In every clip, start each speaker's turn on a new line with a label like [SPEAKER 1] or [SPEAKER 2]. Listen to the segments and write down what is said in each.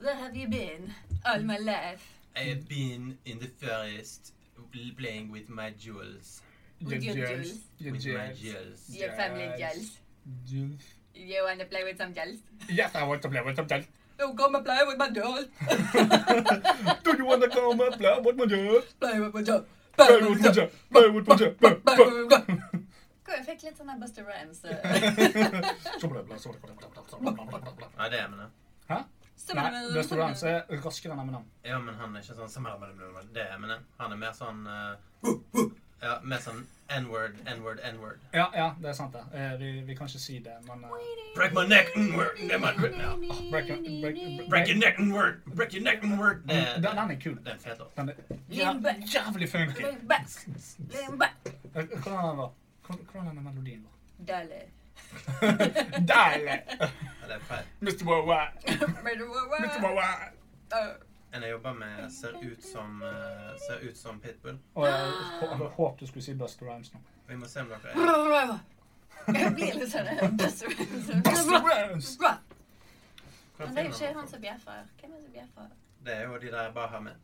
[SPEAKER 1] Where have you been all my life?
[SPEAKER 2] I have been in the forest playing with my jewels.
[SPEAKER 1] With your jewels.
[SPEAKER 2] With
[SPEAKER 3] Your
[SPEAKER 2] my
[SPEAKER 3] jewels.
[SPEAKER 2] jewels.
[SPEAKER 1] Your family jewels.
[SPEAKER 3] Jewels.
[SPEAKER 1] You wanna play with some jewels?
[SPEAKER 3] Yes, I want to play with some jewels.
[SPEAKER 1] Oh, come and play with my jewels.
[SPEAKER 3] Do you want to come and play with my jewels?
[SPEAKER 1] Play with my jewels.
[SPEAKER 3] Play with my jewels. Play with my jewels. Play, play.
[SPEAKER 1] Jeg fikk litt sånn Buster Rhymes.
[SPEAKER 3] Så bla, bla, så bla, bla, bla, bla, bla, bla, bla.
[SPEAKER 2] Ja, det er vi nå.
[SPEAKER 3] Hæ? Nei, Buster Rhymes er raskere enn Eminem.
[SPEAKER 2] Ja, men han er ikke sånn som Det er Eminem. Han er mer sånn eh, Ja, mer sånn N-word, N-word, N-word.
[SPEAKER 3] Ja, ja, det er sant det. Eh, Vi, vi kan ikke si det, men eh,
[SPEAKER 2] Break my neck,
[SPEAKER 3] mm,
[SPEAKER 2] N-word. Det er my- ja.
[SPEAKER 3] break, break,
[SPEAKER 2] Break your neck, N-word. Break your neck, N-word. Det er-
[SPEAKER 3] Den, den er kul.
[SPEAKER 2] det er en fet låt.
[SPEAKER 3] Den er
[SPEAKER 1] Limbe.
[SPEAKER 3] jæv- jævlig funky.
[SPEAKER 1] Lean back. Lean back.
[SPEAKER 3] Eh, Hvordan den var? Hvordan hvordan den melodien var?
[SPEAKER 1] Dale.
[SPEAKER 3] Deilig!
[SPEAKER 2] Ja, det er fett.
[SPEAKER 3] Mr. Worldwide.
[SPEAKER 1] Murder Worldwide.
[SPEAKER 3] Mr. Worldwide.
[SPEAKER 1] Uh,
[SPEAKER 2] En jeg jobber med, ser ut som, eh, ser ut som Pitbull.
[SPEAKER 3] Og jeg hå- jeg håpet du skulle si Buster Rhymes nå.
[SPEAKER 2] Vi må se om dere er
[SPEAKER 1] Jeg blir litt sånn eh, Buster
[SPEAKER 3] Buster
[SPEAKER 1] Rhymes.
[SPEAKER 3] Rhymes!
[SPEAKER 2] Hva
[SPEAKER 1] Men det er jo
[SPEAKER 2] finner
[SPEAKER 1] ikke
[SPEAKER 2] dere?
[SPEAKER 1] han som bjeffer. Hvem er det som bjeffer?
[SPEAKER 2] Det er jo de der jeg bare har med.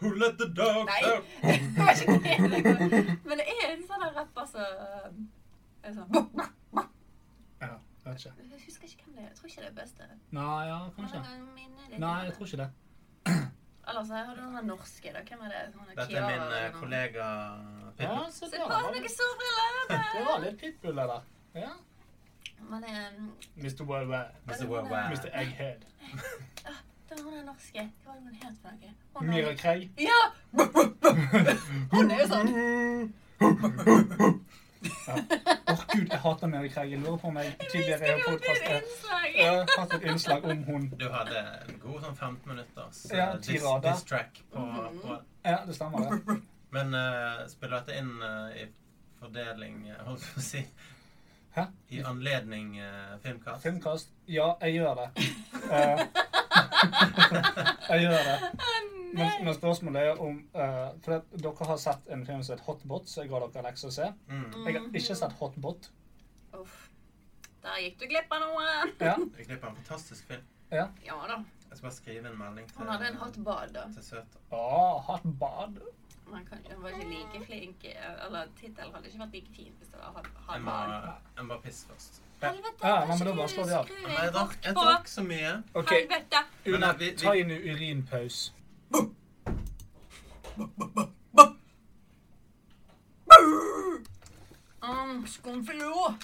[SPEAKER 2] Who let the dogs
[SPEAKER 1] Nei,
[SPEAKER 2] out?
[SPEAKER 1] det var ikke det. Men det er en sånn der rapper som eh, er sånn
[SPEAKER 3] Ja, vet ikke.
[SPEAKER 1] Jeg husker ikke hvem det er. Jeg tror ikke det er Buster.
[SPEAKER 3] Nei, ja, kanskje.
[SPEAKER 2] Nou,
[SPEAKER 3] Nei, jeg tror ikke det.
[SPEAKER 1] Eller så har du noen norske, da. Hvem er det? Hun
[SPEAKER 2] Dette er min eh,
[SPEAKER 1] eller noe.
[SPEAKER 2] kollega
[SPEAKER 3] Ja,
[SPEAKER 2] Pitbull.
[SPEAKER 3] så
[SPEAKER 1] Se
[SPEAKER 3] der
[SPEAKER 1] på
[SPEAKER 3] var
[SPEAKER 1] noen
[SPEAKER 3] det. Det var
[SPEAKER 1] solbriller!
[SPEAKER 3] litt pitbull, det der. Ja.
[SPEAKER 1] Men um,
[SPEAKER 3] Mr. Worldwide.
[SPEAKER 2] Mr.
[SPEAKER 3] Mr.
[SPEAKER 2] Worldwide.
[SPEAKER 3] Egghead.
[SPEAKER 1] det var hun er norske. Hva var det hun het for noe? Hun er-
[SPEAKER 3] Mira Craig.
[SPEAKER 1] Ja! Oh, Hun er jo sånn.
[SPEAKER 3] Ja. Åh, gud, jeg hater Mary Craig. Jeg lurer på om jeg tidligere
[SPEAKER 2] eh,
[SPEAKER 1] Jeg
[SPEAKER 3] har
[SPEAKER 1] husker det, det er et
[SPEAKER 3] podkastet
[SPEAKER 1] innslag.
[SPEAKER 3] hatt et innslag om hun.
[SPEAKER 2] Du hadde en god sånn 15 minutters eh,
[SPEAKER 3] Ja,
[SPEAKER 2] diss,
[SPEAKER 3] tirade.
[SPEAKER 2] diss track på,
[SPEAKER 1] Mhm.
[SPEAKER 2] på
[SPEAKER 3] Ja, det stemmer. det.
[SPEAKER 2] Men eh, spiller dette inn eh, i fordeling eh, Holdt på å si
[SPEAKER 3] Hæ?
[SPEAKER 2] I anledning eh, filmkast?
[SPEAKER 3] Filmkast? Ja, jeg gjør det. Eh, jeg gjør det. Men, men spørsmålet er om eh, For at dere har sett en film som heter Hotbot, så jeg ga dere lekser å se.
[SPEAKER 2] Mm.
[SPEAKER 3] Jeg har ikke sett Hotbot.
[SPEAKER 1] Uff. Der gikk du glipp av noe.
[SPEAKER 3] Ja,
[SPEAKER 2] Jeg klipper en fantastisk film.
[SPEAKER 3] ja.
[SPEAKER 1] Ja da.
[SPEAKER 2] Jeg skal bare skrive en melding til,
[SPEAKER 1] Hun hadde en hot bad, da.
[SPEAKER 2] til Søt.
[SPEAKER 3] Åh, hot bad.
[SPEAKER 1] Man kan, hun var ikke like flink Eller tittelen hadde ikke vært like fin hvis det var hot,
[SPEAKER 2] Jeg
[SPEAKER 1] hot
[SPEAKER 2] må,
[SPEAKER 1] bad.
[SPEAKER 2] jeg må pisse først.
[SPEAKER 1] Helvete,
[SPEAKER 3] Ja, nei, men
[SPEAKER 1] kan
[SPEAKER 3] da
[SPEAKER 1] ikke
[SPEAKER 3] bare
[SPEAKER 1] du
[SPEAKER 3] slår vi av.
[SPEAKER 1] skru
[SPEAKER 2] Men jeg
[SPEAKER 1] en
[SPEAKER 2] drakk, jeg
[SPEAKER 1] bok på?
[SPEAKER 2] drakk så mye.
[SPEAKER 3] OK,
[SPEAKER 1] Helvete!
[SPEAKER 3] Una,
[SPEAKER 2] Men eh, vi- vi-
[SPEAKER 3] ta en urinpause.
[SPEAKER 1] Mm, Skumflo!
[SPEAKER 3] Åh,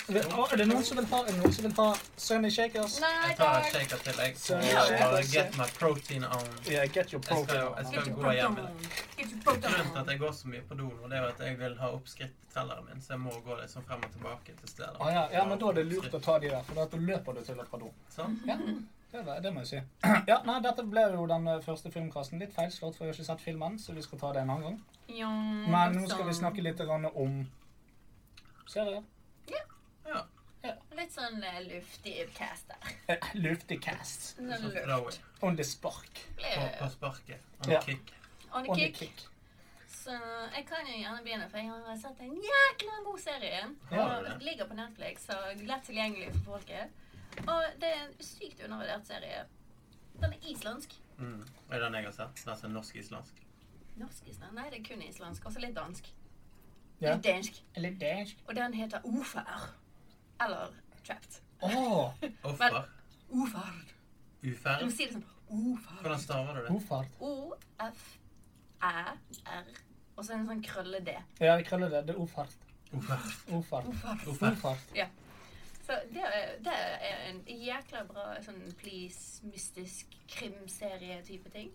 [SPEAKER 3] Er det noen som vil ha, er det noen som vil ha Sunny Shakers?
[SPEAKER 1] Nei
[SPEAKER 2] Jeg tar en
[SPEAKER 1] takk.
[SPEAKER 2] shaker til. Jeg
[SPEAKER 3] Så-
[SPEAKER 2] skal get my protein on.
[SPEAKER 3] Yeah, get your
[SPEAKER 2] Jeg skal,
[SPEAKER 3] program.
[SPEAKER 2] jeg
[SPEAKER 1] Get
[SPEAKER 2] skal
[SPEAKER 1] your
[SPEAKER 2] gå hjem.
[SPEAKER 1] proton. Get your
[SPEAKER 2] Grunnen til at
[SPEAKER 1] proton.
[SPEAKER 2] jeg går så mye på do nå, det er jo at jeg vil ha oppskritttelleren min, så jeg må gå liksom frem og tilbake til stedet.
[SPEAKER 3] Ah, ja, ja, men da er det lurt å ta de der, for da løper du til et par do.
[SPEAKER 2] Sånn.
[SPEAKER 3] Ja, Mm. det, var, det må jeg si. Ja, nei, dette ble jo den eh, første filmkasten. Litt feilslått, for jeg har ikke sett filmen, så vi skal ta det en annen gang.
[SPEAKER 1] Ja,
[SPEAKER 3] Men nå skal
[SPEAKER 1] sånn.
[SPEAKER 3] vi snakke litt grann om serier.
[SPEAKER 2] Ja.
[SPEAKER 1] Litt sånn eh, luftig cast der.
[SPEAKER 3] Eh, Luftig cast.
[SPEAKER 1] Sånn
[SPEAKER 2] Så throw
[SPEAKER 1] luft.
[SPEAKER 2] it.
[SPEAKER 3] On the spark.
[SPEAKER 2] På, på
[SPEAKER 1] Ble-
[SPEAKER 2] sparket. On
[SPEAKER 3] Ja.
[SPEAKER 2] kick.
[SPEAKER 1] On the
[SPEAKER 3] On the
[SPEAKER 1] kick.
[SPEAKER 3] kick.
[SPEAKER 1] Så jeg kan jo gjerne begynne, for jeg har sett en jækla god serie.
[SPEAKER 2] Ja.
[SPEAKER 1] Og den ligger på Netflix og lett tilgjengelig for folket. Og det er en sykt undervurdert serie. Den er islandsk.
[SPEAKER 2] Mm. Er det den jeg har sett? Den som er altså norsk-islandsk.
[SPEAKER 1] Norsk-islandsk? Nei, det er kun islandsk. Også litt dansk.
[SPEAKER 3] Ja.
[SPEAKER 1] Litt dansk.
[SPEAKER 3] Litt dansk.
[SPEAKER 1] Og den heter Ofær. Eller Trapped.
[SPEAKER 3] Åh,
[SPEAKER 2] Offer.
[SPEAKER 1] Ofær. Du må
[SPEAKER 2] Uferd.
[SPEAKER 1] si det sånn. Ofær.
[SPEAKER 2] Hvordan staver du det?
[SPEAKER 3] Ofart.
[SPEAKER 1] O-f-æ-r. Og så en sånn krølle-d.
[SPEAKER 3] Ja, jeg krøller det. Det er ofart.
[SPEAKER 2] Oferd.
[SPEAKER 3] Ofart.
[SPEAKER 1] Ofær.
[SPEAKER 2] Oferd.
[SPEAKER 3] Ofart.
[SPEAKER 1] Så det er, det er en jækla bra sånn please, mystisk krimserie-type ting.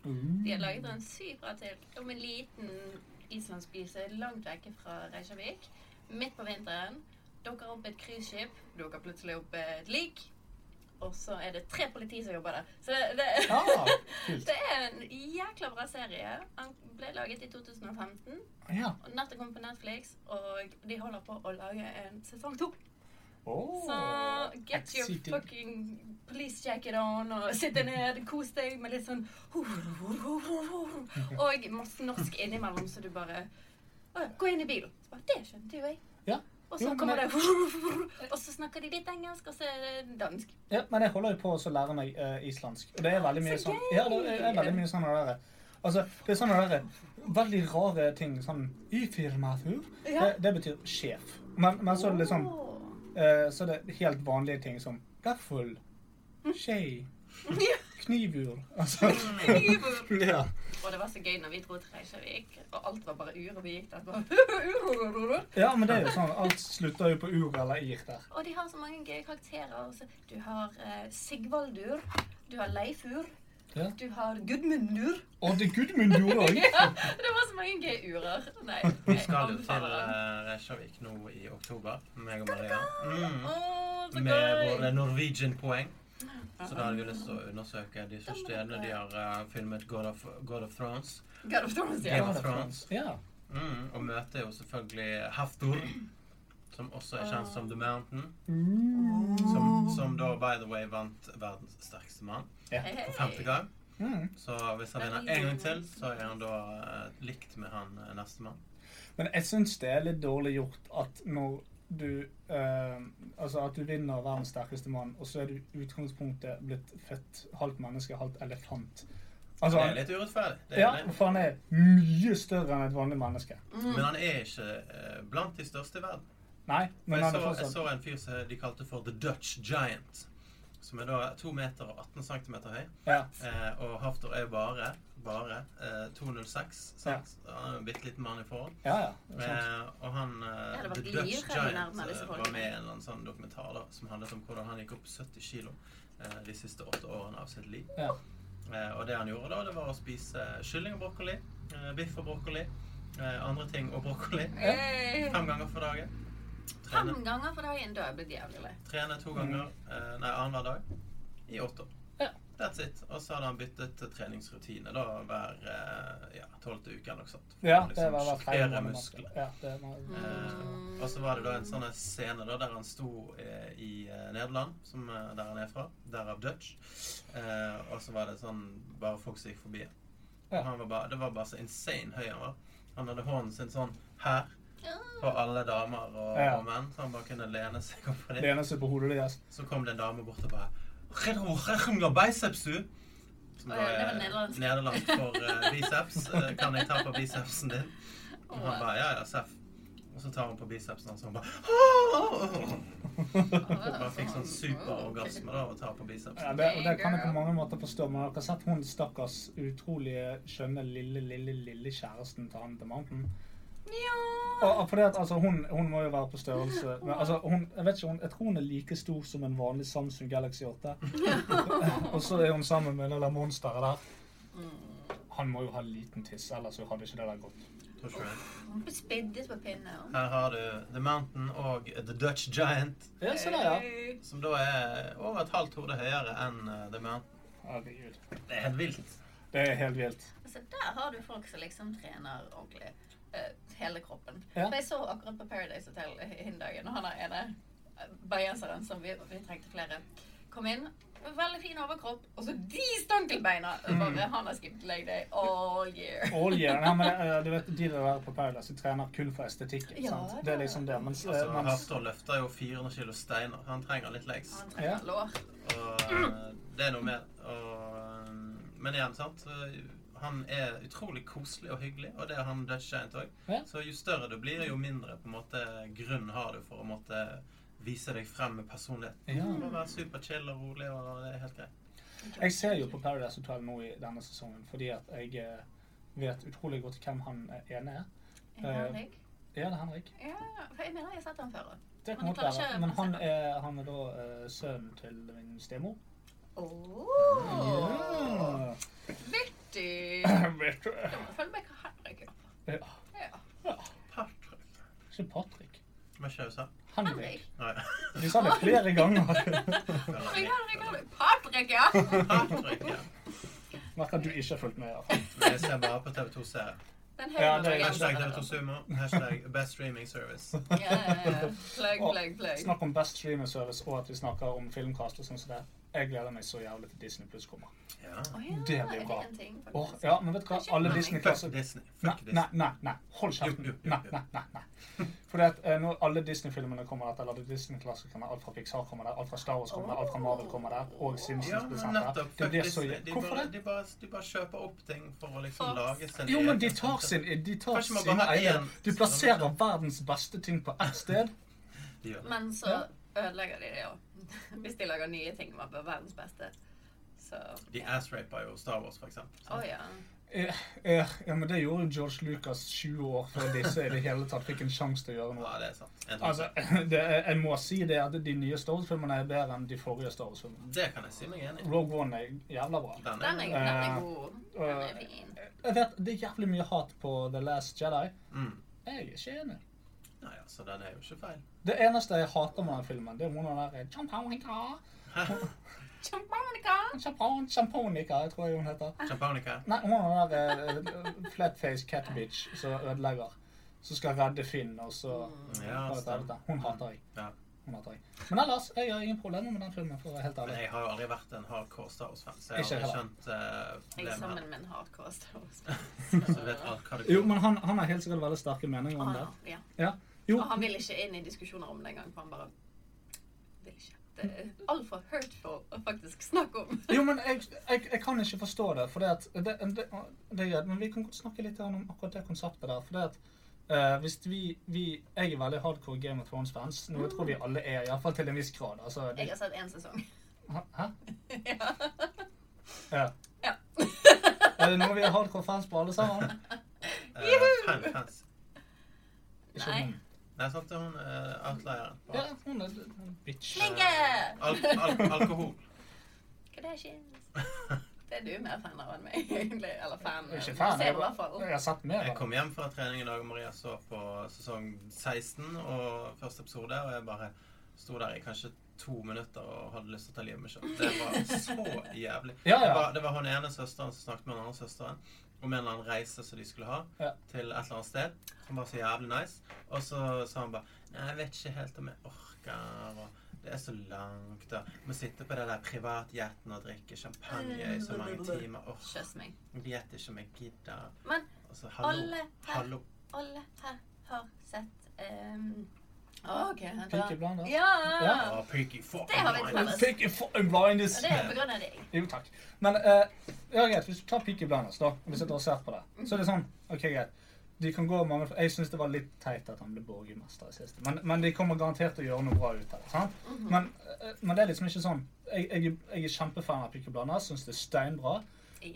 [SPEAKER 1] De har laget en sykt bra til om en liten islandsk by som er langt vekke fra Reykjavik. Midt på vinteren dukker opp et cruiseskip, dukker plutselig opp et lik. Og så er det tre politi som jobber der. Så det, det,
[SPEAKER 3] Ah, kult.
[SPEAKER 1] det er en jækla bra serie. Han ble laget i 2015.
[SPEAKER 3] Ja.
[SPEAKER 1] Og nettet kom på Netflix, og de holder på å lage en sesong to.
[SPEAKER 3] Åh.
[SPEAKER 1] Så get your
[SPEAKER 3] Exciting.
[SPEAKER 1] fucking police jacket on og sitte ned, kos deg med litt sånn Og masse norsk innimellom, så du bare «Å, Gå inn i bilen. Så bare, det skjønte jo jeg.
[SPEAKER 3] Ja.
[SPEAKER 1] Og
[SPEAKER 3] Jo,
[SPEAKER 1] så
[SPEAKER 3] men
[SPEAKER 1] kommer
[SPEAKER 3] jeg-
[SPEAKER 1] det Og så snakker de litt engelsk, og så er det dansk.
[SPEAKER 3] Ja, men jeg holder jo på å lære meg eh, islandsk. Og det er veldig mye
[SPEAKER 1] Så
[SPEAKER 3] sånn
[SPEAKER 1] gøy!
[SPEAKER 3] Ja, det er er veldig mye sånn det der. Altså, det er sånne der, veldig rare ting. Sånn «Yfirmaður», det,
[SPEAKER 1] Ja.
[SPEAKER 3] det betyr sjef. Men, men så er det liksom
[SPEAKER 1] Åh.
[SPEAKER 3] eh, Så er det helt vanlige ting som gaffel, skje,
[SPEAKER 1] Ja.
[SPEAKER 3] knivur Altså Ja.
[SPEAKER 1] Og det var så gøy når vi dro til Reykjavik, og alt var bare ur, og vi gikk der bare
[SPEAKER 3] ja, men det er jo sånn. Alt slutter jo på ur eller ir der.
[SPEAKER 1] Og de har så mange gøye karakterer. Altså. Du har eh, Sigvaldur, du har Leifur,
[SPEAKER 3] Ja.
[SPEAKER 1] du har Gudmundur.
[SPEAKER 3] Å, det er Gudmundur òg!
[SPEAKER 1] Ja, det var så mange gøye urer. Nei,
[SPEAKER 2] Vi
[SPEAKER 1] jeg
[SPEAKER 2] skal jo til
[SPEAKER 1] anbefaler den.
[SPEAKER 2] eh, Reykjavik nå i oktober, meg og Maria. Mm.
[SPEAKER 1] Åh, så
[SPEAKER 2] Med
[SPEAKER 1] gøy! Ah.
[SPEAKER 2] våre Norwegian-poeng. Så da hadde vi lyst til å undersøke de første stedene de har eh, filmet God of, God of Thrones.
[SPEAKER 1] God of Thrones,
[SPEAKER 2] Game
[SPEAKER 1] ja.
[SPEAKER 2] of Thrones.
[SPEAKER 3] Ja.
[SPEAKER 2] Mm. Og møtet er jo selvfølgelig Haftor, som også er kjent som The Mountain. Som,
[SPEAKER 3] Ah.
[SPEAKER 2] som da, by the way, vant verdens sterkeste mann
[SPEAKER 1] Hei, hei.
[SPEAKER 2] for femte gang.
[SPEAKER 3] Mm.
[SPEAKER 2] Så hvis han vinner en gang til, så er han da eh, likt med han eh, nestemann.
[SPEAKER 3] Men jeg syns det er litt dårlig gjort at når du eh, Altså at du vinner verdens sterkeste mann, og så er du i utgangspunktet blitt født halvt menneske, halvt elefant. Altså,
[SPEAKER 2] Det er
[SPEAKER 3] han,
[SPEAKER 2] litt urettferdig. Det
[SPEAKER 3] ja,
[SPEAKER 2] er det.
[SPEAKER 3] for han er mye større enn et vanlig menneske.
[SPEAKER 1] Mm.
[SPEAKER 2] Men han er ikke eh, blant de største i verden.
[SPEAKER 3] Nei,
[SPEAKER 2] For
[SPEAKER 3] men
[SPEAKER 2] jeg så,
[SPEAKER 3] han er
[SPEAKER 2] jeg
[SPEAKER 3] fortsatt
[SPEAKER 2] så en fyr som de kalte for The Dutch Giant. Som er da 2 meter og 18 cm høy.
[SPEAKER 3] ja.
[SPEAKER 2] Eh, og Haftor er jo bare, bare eh, 206. Sant? Han er jo en bitte liten mann i forhold.
[SPEAKER 3] Ja, ja. det er sant.
[SPEAKER 2] Eh, og han eh,
[SPEAKER 1] Ja, det var
[SPEAKER 2] The
[SPEAKER 1] dyr
[SPEAKER 2] Dutch
[SPEAKER 1] her vi
[SPEAKER 2] Giant
[SPEAKER 1] nærmer disse
[SPEAKER 2] eh,
[SPEAKER 1] folkene.
[SPEAKER 2] var med i en eller annen sånn dokumentar da, som handlet om hvordan han gikk opp 70 kilo eh, de siste åtte årene av sitt liv.
[SPEAKER 3] Ja.
[SPEAKER 2] Eh, og det han gjorde da, det var å spise kylling og brokkoli, eh, biff og brokkoli, eh, andre ting og brokkoli.
[SPEAKER 1] Hey.
[SPEAKER 2] Fem ganger for dagen.
[SPEAKER 1] Eh, Fem
[SPEAKER 2] Trene,
[SPEAKER 1] ganger for dagen, da er jeg blitt jævlig lei.
[SPEAKER 2] trene to ganger, eh, nei, annenhver dag i åtte år.
[SPEAKER 3] Ja.
[SPEAKER 2] That's it. Og så hadde han byttet til treningsrutine da hver eh, ja, tolvte uke eller noe sånt.
[SPEAKER 3] ja,
[SPEAKER 2] For å
[SPEAKER 3] det
[SPEAKER 2] liksom
[SPEAKER 3] var hvert
[SPEAKER 2] sjokkere
[SPEAKER 3] tredje vanlige
[SPEAKER 2] muskler.
[SPEAKER 3] menneske. Ja, det var,
[SPEAKER 2] Eh, og så var det da en sånn scene da, der han sto eh, i eh, Nederland, som, eh, der han er fra, derav Dutch. Eh, og så var det sånn bare folk som gikk forbi. Og
[SPEAKER 3] Ja.
[SPEAKER 2] han var bare, det var bare så insane høy han var. Han hadde hånden sin sånn her
[SPEAKER 1] Ah.
[SPEAKER 2] på alle damer og,
[SPEAKER 3] Ja.
[SPEAKER 2] og menn, så han bare kunne lene seg opp på
[SPEAKER 3] det
[SPEAKER 2] dem.
[SPEAKER 3] eneste på hodet deres.
[SPEAKER 2] Så kom det en dame bort og bare «Gerro, gerro, biceps, du!» Som
[SPEAKER 1] Å
[SPEAKER 2] da
[SPEAKER 1] ja, det var
[SPEAKER 2] er
[SPEAKER 1] nederlandsk.
[SPEAKER 2] nederlandsk for eh, biceps. Eh, Kan jeg ta på bicepsen din? Og han bare ja, ja, seff. Og så tar hun på bicepsen hans og han bare Bare fikk sånn superorgasme da av å ta på
[SPEAKER 3] Ja,
[SPEAKER 2] bicepsen.
[SPEAKER 3] det, og det kan jeg på mange måter forstå, men dere har sett hun stakkars utrolige, skjønne, lille, lille, lille kjæresten til han The Mountain.
[SPEAKER 1] Ja.
[SPEAKER 3] Og, for det at, altså, hun, hun må jo være på størrelse men, altså, hun, jeg, vet ikke, hun, jeg tror hun er like stor som en vanlig Samsung Galaxy 8. og så er hun sammen med det der monsteret der. Han må jo ha liten tiss, ellers så hadde ikke det der gått.
[SPEAKER 2] Tror ikke det.
[SPEAKER 1] Hun ble spiddet på pinnen.
[SPEAKER 2] Her har du The Mountain og The Dutch Giant,
[SPEAKER 3] Ja, se der, ja.
[SPEAKER 1] Hey.
[SPEAKER 2] som da er over et halvt hode høyere enn eh, The Mountain.
[SPEAKER 3] Herregud.
[SPEAKER 2] Det er helt vilt.
[SPEAKER 3] Det er helt vilt.
[SPEAKER 1] Altså, der har du folk som liksom trener ordentlig. eh, hele kroppen.
[SPEAKER 3] Ja.
[SPEAKER 1] For jeg så akkurat på Paradise Hotel hin dagen, og han er ene eh, bergenseren som vi, vi trengte flere, kom inn. Veldig fin overkropp, og så de stankelbeina! Bare han har skippet leg day all year.
[SPEAKER 3] Mm. All year. Nei, men eh, du vet, De der på Paradise de trener kun for estetikken.
[SPEAKER 1] Ja,
[SPEAKER 3] sant?
[SPEAKER 1] det
[SPEAKER 3] Det
[SPEAKER 1] er
[SPEAKER 3] er liksom det. Mens, eh,
[SPEAKER 2] Altså,
[SPEAKER 3] mens
[SPEAKER 2] Haftor løfter jo 400 kilo steiner. Han trenger litt legs.
[SPEAKER 1] Han trener
[SPEAKER 3] Ja.
[SPEAKER 1] lår.
[SPEAKER 2] Og eh, det er noe med og, eh, Men igjen, sant. eh, Han er utrolig koselig og hyggelig, og det er han Dutch Giant òg.
[SPEAKER 3] Ja.
[SPEAKER 2] Så jo større du blir, jo mindre på en måte grunn har du for å måtte vise deg frem med personlighet.
[SPEAKER 3] Ja.
[SPEAKER 2] Du må være superchill og rolig, og det er helt greit.
[SPEAKER 3] Jeg ser jo på Paradise Hotel nå i denne sesongen fordi at jeg eh, vet utrolig godt hvem han eh, ene er.
[SPEAKER 1] Er
[SPEAKER 3] Eh.
[SPEAKER 1] han digg?
[SPEAKER 3] Ja, det er Henrik.
[SPEAKER 1] Ja, for jeg mener jeg har sett han før.
[SPEAKER 3] Det kan
[SPEAKER 1] Men
[SPEAKER 3] godt
[SPEAKER 1] du klarer
[SPEAKER 3] være.
[SPEAKER 1] ikke å
[SPEAKER 3] Men han
[SPEAKER 1] plassere
[SPEAKER 3] er, han er da eh, sønnen til min stemor. Mm.
[SPEAKER 1] Oh. Vittig! Da
[SPEAKER 3] Vet du.
[SPEAKER 1] må jeg følge med hva Henrik gjør.
[SPEAKER 3] Ja.
[SPEAKER 1] Ja.
[SPEAKER 2] Patrick.
[SPEAKER 3] Ikke Patrick.
[SPEAKER 2] Hva skjer sa?
[SPEAKER 3] Henrik.
[SPEAKER 1] Henrik.
[SPEAKER 2] Nei.
[SPEAKER 3] Vi sa det flere ganger.
[SPEAKER 1] Henrik, Henrik, Henrik. Patrick, ja!
[SPEAKER 2] Patrick, ja.
[SPEAKER 3] Merker at du ikke har fulgt med. i hvert fall.
[SPEAKER 2] Men jeg ser bare på TV2-serier.
[SPEAKER 1] Den
[SPEAKER 3] Ja, det er-
[SPEAKER 2] Hashtag TV2 Sumo. Hashtag Best Streaming Service.
[SPEAKER 1] Ja, ja, ja. Plugg, plugg, plugg.
[SPEAKER 3] Snakk om best streaming service og at vi snakker om filmkast og sånn som det. Jeg gleder meg så jævlig til Disney Pluss kommer.
[SPEAKER 2] Ja.
[SPEAKER 1] Å ja,
[SPEAKER 3] Det blir
[SPEAKER 1] er
[SPEAKER 3] bra.
[SPEAKER 1] en ting, faktisk?
[SPEAKER 3] Åh, ja, men vet du hva? Alle
[SPEAKER 1] Nei.
[SPEAKER 2] Fuck
[SPEAKER 3] Disney-klasser
[SPEAKER 2] Disney.
[SPEAKER 3] Nei,
[SPEAKER 2] Fuck
[SPEAKER 3] nei,
[SPEAKER 2] Disney.
[SPEAKER 3] nei, nei. Hold
[SPEAKER 2] Jo,
[SPEAKER 3] kjeften.
[SPEAKER 2] jo, jo,
[SPEAKER 3] Nei,
[SPEAKER 2] jo.
[SPEAKER 3] nei, nei. nei. Fordi at eh, når alle Disney-filmene kommer der, eller Disney-klassikerne, alt fra Pixar kommer der, alt fra Star Wars kommer der, alt fra Marvel kommer der, og
[SPEAKER 2] Ja,
[SPEAKER 3] Simpsons blir
[SPEAKER 2] men
[SPEAKER 3] sendt der.
[SPEAKER 2] nettopp.
[SPEAKER 3] Det
[SPEAKER 2] Fuck
[SPEAKER 3] blir så
[SPEAKER 2] Disney.
[SPEAKER 3] jæ-
[SPEAKER 2] De
[SPEAKER 3] Hvorfor
[SPEAKER 2] bare,
[SPEAKER 3] det?
[SPEAKER 2] de, bare, de bare kjøper opp ting for å liksom
[SPEAKER 1] Fox.
[SPEAKER 2] lage sin
[SPEAKER 3] Jo,
[SPEAKER 2] egen
[SPEAKER 3] men
[SPEAKER 2] sånn
[SPEAKER 3] de tar
[SPEAKER 2] content.
[SPEAKER 3] sin, de tar
[SPEAKER 2] Kanskje man
[SPEAKER 3] sin
[SPEAKER 2] bare har
[SPEAKER 3] egen
[SPEAKER 2] én-
[SPEAKER 3] De plasserer verdens beste ting på ett sted.
[SPEAKER 2] De gjør det.
[SPEAKER 1] Men så ødelegger de det òg. Hvis de lager nye ting med verdens beste. Så
[SPEAKER 2] De ass-raper jo Star Wars, for eksempel.
[SPEAKER 1] Å ja.
[SPEAKER 3] Eh, eh, Ja, men det gjorde jo George Lucas 20 år før disse i det hele tatt fikk en sjanse til å gjøre noe.
[SPEAKER 2] Ja, det er sant. En-
[SPEAKER 3] Altså, det, er- jeg må si det at de nye Star Wars-filmerne er bedre enn de forrige Star Wars-filmene.
[SPEAKER 2] det kan jeg si meg enig i.
[SPEAKER 3] Rogue One er jævla bra.
[SPEAKER 2] Den
[SPEAKER 1] Den er,
[SPEAKER 2] er
[SPEAKER 1] den er
[SPEAKER 3] Eh,
[SPEAKER 1] god. Den er fin.
[SPEAKER 3] Jeg vet, Det er jævlig mye hat på The Last Jedi.
[SPEAKER 2] mm.
[SPEAKER 3] Jeg er ikke enig.
[SPEAKER 2] Nei, altså, den er jo ikke feil.
[SPEAKER 3] Det eneste jeg hater med den filmen, det er hun der eh, Champagnica,
[SPEAKER 1] Champagne!
[SPEAKER 3] champagne, champagnica, jeg tror jeg hun heter.
[SPEAKER 2] Champagnica.
[SPEAKER 3] Nei, hun er den der eh, flatface catbitch som ødelegger. Som skal redde Finn, og så
[SPEAKER 2] Ja,
[SPEAKER 3] og dette,
[SPEAKER 2] stemmer.
[SPEAKER 3] dette. Hun hater jeg.
[SPEAKER 2] Ja.
[SPEAKER 3] Hun hater jeg. Men ellers, jeg har ingen problemer med den filmen, for å være helt
[SPEAKER 2] Men
[SPEAKER 3] ærlig.
[SPEAKER 2] jeg har jo aldri vært en hardcore Star Wars-fan, så jeg
[SPEAKER 3] Ikke
[SPEAKER 2] har aldri
[SPEAKER 3] heller.
[SPEAKER 2] skjønt eh,
[SPEAKER 1] Jeg er
[SPEAKER 2] problemet
[SPEAKER 1] sammen
[SPEAKER 2] her.
[SPEAKER 1] med en hardcore Star Wars.
[SPEAKER 2] Så altså, du vet alt hva det
[SPEAKER 3] Jo, men han, han har helt sikkert veldig sterke meninger om
[SPEAKER 1] Ah,
[SPEAKER 3] det.
[SPEAKER 1] ja.
[SPEAKER 3] Ja. Jo,
[SPEAKER 1] Og han vil ikke inn i diskusjoner om det engang, for han bare vil ikke. Det er altfor hurtful å faktisk snakke om.
[SPEAKER 3] jo, men jeg, jeg, jeg kan ikke forstå det. For det, at- det, det, det er greit, men vi kan godt snakke litt om akkurat det konseptet der. For det at eh, hvis vi, vi Jeg er veldig hardcore Game of Thrones-fans. Noe jeg tror vi alle er, iallfall til en viss grad. Altså,
[SPEAKER 1] Jeg
[SPEAKER 3] det,
[SPEAKER 1] har sett én sesong.
[SPEAKER 3] hæ?
[SPEAKER 1] Ja.
[SPEAKER 3] Ja.
[SPEAKER 1] ja.
[SPEAKER 3] Er det noe vi er hardcore fans på, alle sammen?
[SPEAKER 2] Eh, fan, fans.
[SPEAKER 3] Ikke
[SPEAKER 1] Nei.
[SPEAKER 3] hun.
[SPEAKER 2] Nei, sant, hun er outlieren. på
[SPEAKER 3] Ja,
[SPEAKER 2] alt.
[SPEAKER 3] hun er en bitch.
[SPEAKER 1] Slinge!
[SPEAKER 2] Al al alkohol.
[SPEAKER 1] Kardashians. Det er du mer fan av enn meg, egentlig. Eller fan.
[SPEAKER 3] Jeg er ikke fan.
[SPEAKER 1] Du ser
[SPEAKER 3] Jeg,
[SPEAKER 1] i hvert fall.
[SPEAKER 3] bare- jeg har sett mer.
[SPEAKER 2] Jeg
[SPEAKER 3] av det.
[SPEAKER 2] kom hjem fra trening i dag, og Maria så på sesong 16 og første episode, og jeg bare sto der i kanskje to minutter og hadde lyst til å ta livet av meg selv. Det var så jævlig.
[SPEAKER 3] Ja,
[SPEAKER 2] Det
[SPEAKER 3] ja.
[SPEAKER 2] var, det var hun ene søsteren som snakket med den andre søsteren om en eller annen reise som de skulle ha
[SPEAKER 3] Ja.
[SPEAKER 2] til et eller annet sted, som var så jævlig nice. Og så sa han bare Nei, jeg vet ikke helt om jeg orker. og det er så langt. da. Må sitte på det der privatjetten og drikke champagne i så mange timer. Åh,
[SPEAKER 1] Kjøss meg.
[SPEAKER 2] jeg vet ikke om jeg gidder.
[SPEAKER 1] Men
[SPEAKER 2] Altså, hallo,
[SPEAKER 1] Alle her.
[SPEAKER 2] hallo.
[SPEAKER 1] alle her har sett um, OK. vent da.
[SPEAKER 3] Peaky Blinders.
[SPEAKER 1] Ja!
[SPEAKER 3] Ja.
[SPEAKER 2] Ja, Peaky fucking
[SPEAKER 1] Det har vi
[SPEAKER 2] Blinders.
[SPEAKER 1] prøvd.
[SPEAKER 3] Fikk jeg fucking blindness!
[SPEAKER 1] Og det er på grunn av deg.
[SPEAKER 3] Jo, takk. Men eh, ja, greit, hvis du tar Peaky Blinders, da, og vi sitter og ser på det, så er det sånn OK, greit. De kan gå mange, Jeg syns det var litt teit at han ble borgermester i siste, men, men de kommer garantert til å gjøre noe bra ut av det. sant? men, eh, men det er liksom ikke sånn. Jeg, jeg, jeg er kjempefan av Peaky Blinders, syns det er steinbra.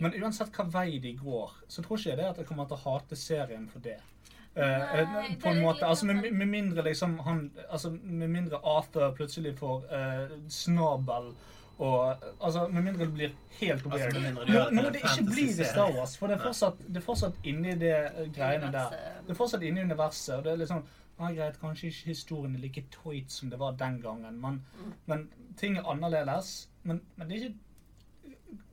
[SPEAKER 3] Men uansett hva vei de går, så tror ikke jeg det at jeg kommer til å hate serien for det. Eh, eh,
[SPEAKER 1] Nei,
[SPEAKER 3] på en
[SPEAKER 1] det er
[SPEAKER 3] måte,
[SPEAKER 1] litt
[SPEAKER 3] altså med,
[SPEAKER 1] sånn-
[SPEAKER 3] med mindre liksom han, altså med mindre Arthur plutselig får eh, snabel og altså med mindre det blir helt weird.
[SPEAKER 2] Altså, med mindre de
[SPEAKER 3] nå,
[SPEAKER 2] gjør det
[SPEAKER 3] nå må
[SPEAKER 2] til
[SPEAKER 3] det
[SPEAKER 2] en
[SPEAKER 3] ikke bli det
[SPEAKER 2] fantasy-serie.
[SPEAKER 3] Star Wars, for det er
[SPEAKER 2] Nei.
[SPEAKER 3] fortsatt, det er fortsatt inni det eh, greiene der.
[SPEAKER 1] Universet.
[SPEAKER 3] Det er fortsatt inni universet, og det er liksom ja, greit, Kanskje ikke historien er like tøyt som det var den gangen, men, men ting er annerledes. Men, men det er ikke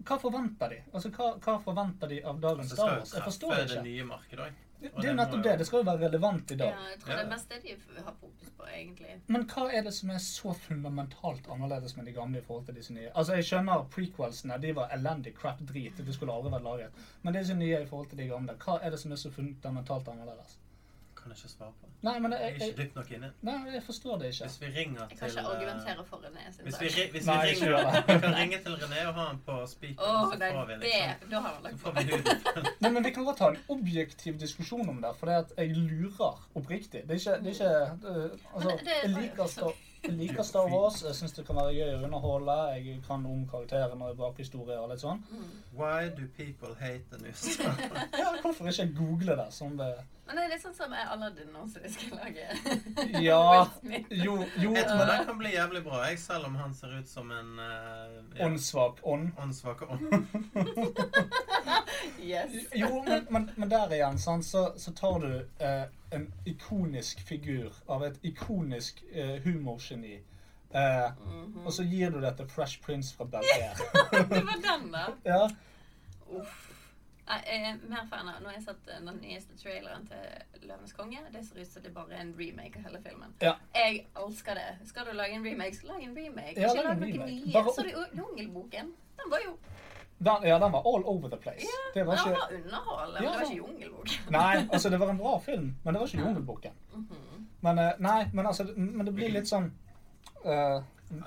[SPEAKER 3] Hva forventer de? Altså, hva, hva forventer de av dagens
[SPEAKER 2] Det
[SPEAKER 3] Star
[SPEAKER 2] Altså, skal jo
[SPEAKER 3] Wars? Jeg
[SPEAKER 2] treffe
[SPEAKER 3] forstår det
[SPEAKER 2] det
[SPEAKER 3] ikke.
[SPEAKER 2] nye markedet òg.
[SPEAKER 3] Det,
[SPEAKER 2] og
[SPEAKER 3] det er jo
[SPEAKER 2] det må
[SPEAKER 3] nettopp
[SPEAKER 2] jo-
[SPEAKER 3] det. Det skal jo være relevant i
[SPEAKER 1] Ja,
[SPEAKER 3] dag.
[SPEAKER 1] jeg tror
[SPEAKER 2] Ja.
[SPEAKER 1] det er mest det de har fokus på, egentlig.
[SPEAKER 3] Men hva er det som er så fundamentalt annerledes med de gamle i forhold til disse nye? Altså, Jeg skjønner prequelsene. De var elendig crap drit. Det skulle aldri vært laget. Men disse nye i forhold til de gamle, hva er det som er så fundamentalt annerledes?
[SPEAKER 2] Kan jeg ikke svare på.
[SPEAKER 3] Nei, men
[SPEAKER 2] Jeg
[SPEAKER 3] jeg,
[SPEAKER 2] er
[SPEAKER 3] jeg,
[SPEAKER 2] ikke dypt nok inne.
[SPEAKER 3] nei, jeg forstår det ikke.
[SPEAKER 2] Hvis vi ringer
[SPEAKER 1] Jeg
[SPEAKER 2] til
[SPEAKER 1] kan ikke
[SPEAKER 2] eh,
[SPEAKER 1] argumentere for René sin
[SPEAKER 2] Hvis vi,
[SPEAKER 1] sak.
[SPEAKER 2] ri- hvis
[SPEAKER 3] Nei,
[SPEAKER 2] vi
[SPEAKER 3] ikke
[SPEAKER 2] ringer,
[SPEAKER 3] gjør det.
[SPEAKER 2] vi kan ringe til René og ha han på speaker,
[SPEAKER 1] Å,
[SPEAKER 2] så
[SPEAKER 1] det
[SPEAKER 2] får vi
[SPEAKER 1] er
[SPEAKER 2] liksom
[SPEAKER 1] det! Da har han
[SPEAKER 2] så
[SPEAKER 1] lagt
[SPEAKER 2] får
[SPEAKER 1] på.
[SPEAKER 2] vi lyden.
[SPEAKER 3] Nei, men Vi kan godt ha en objektiv diskusjon om det, for det at jeg lurer oppriktig. Det er ikke, det er ikke øh, altså,
[SPEAKER 1] Men det-
[SPEAKER 3] Jeg liker Star, jeg liker Star Wars, jeg syns det kan være gøy å underholde. Jeg kan om karakterene og bakhistorie og litt sånn.
[SPEAKER 2] Why do people hate the news? Nei,
[SPEAKER 3] Ja, Hvorfor ikke google det? som det...
[SPEAKER 1] Men det er litt sånn som jeg Aladdin nå, som de skal lage.
[SPEAKER 3] Ja,
[SPEAKER 1] Will Smith.
[SPEAKER 3] jo, jo
[SPEAKER 2] Jeg tror den kan bli jævlig bra, jeg, selv om han ser ut som en eh, ja,
[SPEAKER 3] Åndssvak ånd.
[SPEAKER 2] åndssvak ånd.
[SPEAKER 1] Yes.
[SPEAKER 3] Jo, men, men, men der igjen, sant, så, så tar du eh, en ikonisk figur av et ikonisk eh, humorgeni. Eh,
[SPEAKER 1] Mhm.
[SPEAKER 3] Og så gir du det til Fresh Prince fra Bel-Air.
[SPEAKER 1] Det var den, da.
[SPEAKER 3] ja.
[SPEAKER 1] Uff. Nei, Jeg er mer fan av Nå har jeg sett eh, den nyeste traileren til 'Løvenes konge'. Det ser ut som det er bare en remake av hele filmen.
[SPEAKER 3] Ja.
[SPEAKER 1] Jeg elsker det. Skal du lage en remake, så lag en remake.
[SPEAKER 3] Ja,
[SPEAKER 1] Ikke
[SPEAKER 3] lag en
[SPEAKER 1] lag noen
[SPEAKER 3] remake.
[SPEAKER 1] nye.
[SPEAKER 3] Bare
[SPEAKER 1] Så du Jungelboken. Den var jo
[SPEAKER 3] Den, ja, den var all over the place. Det var
[SPEAKER 1] Den
[SPEAKER 3] ikke
[SPEAKER 1] var underholdende, men
[SPEAKER 3] Ja. sånn.
[SPEAKER 1] det var ikke Jungelboken.
[SPEAKER 3] Nei, altså det var en bra film, men det var ikke Jungelboken.
[SPEAKER 1] Mhm.
[SPEAKER 3] Men eh, nei, men altså Men det blir litt sånn
[SPEAKER 2] Ja,
[SPEAKER 3] eh,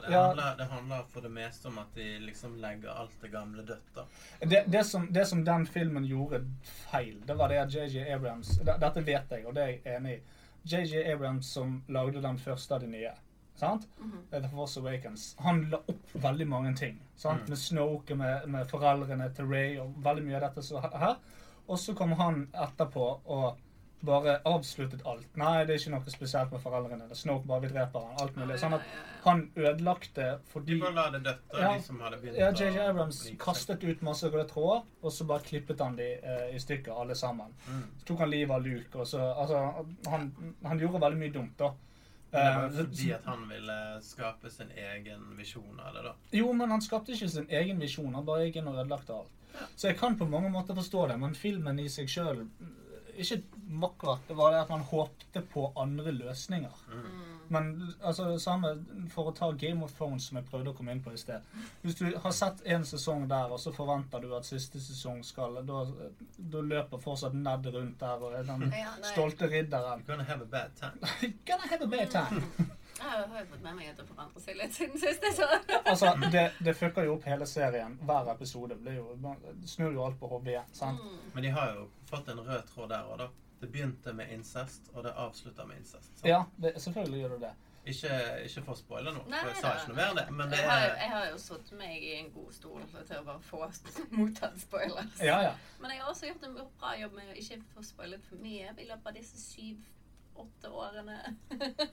[SPEAKER 2] det,
[SPEAKER 3] Ja,
[SPEAKER 2] handler, det handler for det meste om at de liksom legger alt det gamle dødt. da.
[SPEAKER 3] det, det, som, det som den filmen gjorde feil, det var det at JJ Abrams det- Dette vet jeg, og det er jeg enig i. JJ Abrams som lagde den første av de nye. Sant? The Force Awakens. Han la opp veldig mange ting. Sant?
[SPEAKER 2] Mm.
[SPEAKER 3] Med Snoke, med, med foreldrene til Ray og veldig mye av dette som he- her. Og så kom han etterpå og bare avsluttet alt. Nei, det er ikke noe spesielt med foreldrene. Snoke bare vi dreper han. Alt mulig. Sånn at han ødelagte
[SPEAKER 2] De
[SPEAKER 3] fordi
[SPEAKER 2] bare la det dødt, og
[SPEAKER 3] Ja.
[SPEAKER 2] de som hadde begynt
[SPEAKER 3] ja, JJ Abrams
[SPEAKER 2] å-
[SPEAKER 3] kastet ut masse røde tråder, og så bare klippet han de eh, i stykker, alle sammen.
[SPEAKER 2] Mm.
[SPEAKER 3] Så tok han livet av Luke, og så Altså, han, han gjorde veldig mye dumt, da.
[SPEAKER 2] Men Det var
[SPEAKER 3] Eh,
[SPEAKER 2] jo fordi at han ville skape sin egen visjon av det, da.
[SPEAKER 3] Jo, men han skapte ikke sin egen visjon, han bare gikk inn og ødelagte alt. Så jeg kan på mange måter forstå det, men filmen i seg sjøl Ikke akkurat. Det var det at man håpte på andre løsninger.
[SPEAKER 2] Mm.
[SPEAKER 3] Men altså, det samme for å ta Game of Thrones, som jeg prøvde å komme inn på i sted. Hvis du har sett én sesong der, og så forventer du at siste sesong skal Da, da løper fortsatt Ned rundt der og er den
[SPEAKER 1] Ja, nei.
[SPEAKER 3] stolte ridderen.
[SPEAKER 2] You're gonna have a bad time.
[SPEAKER 3] Gonna have a bad time.
[SPEAKER 1] Jeg har jo fått med meg at det forandrer seg litt siden sist jeg så den.
[SPEAKER 3] Altså, det, det fucker jo opp hele serien. Hver episode blir jo, man snur jo alt på hodet. sant?
[SPEAKER 1] Mm.
[SPEAKER 2] Men de har jo fått en rød tråd der òg, da. Det begynte med incest, og det avslutta med incest. sant?
[SPEAKER 3] Ja, det, selvfølgelig gjør du det.
[SPEAKER 2] Ikke, ikke for å spoile noe,
[SPEAKER 1] Nei,
[SPEAKER 2] for jeg sa
[SPEAKER 1] nei,
[SPEAKER 2] ikke noe mer om det. Men det
[SPEAKER 1] Jeg har, jo-
[SPEAKER 2] er
[SPEAKER 1] jeg har jo satt meg i en god stol til å bare få mottatt spoilers.
[SPEAKER 3] Ja, ja.
[SPEAKER 1] Men jeg har også gjort en bra jobb med å ikke få spoilet for mye i løpet av disse syv-åtte årene.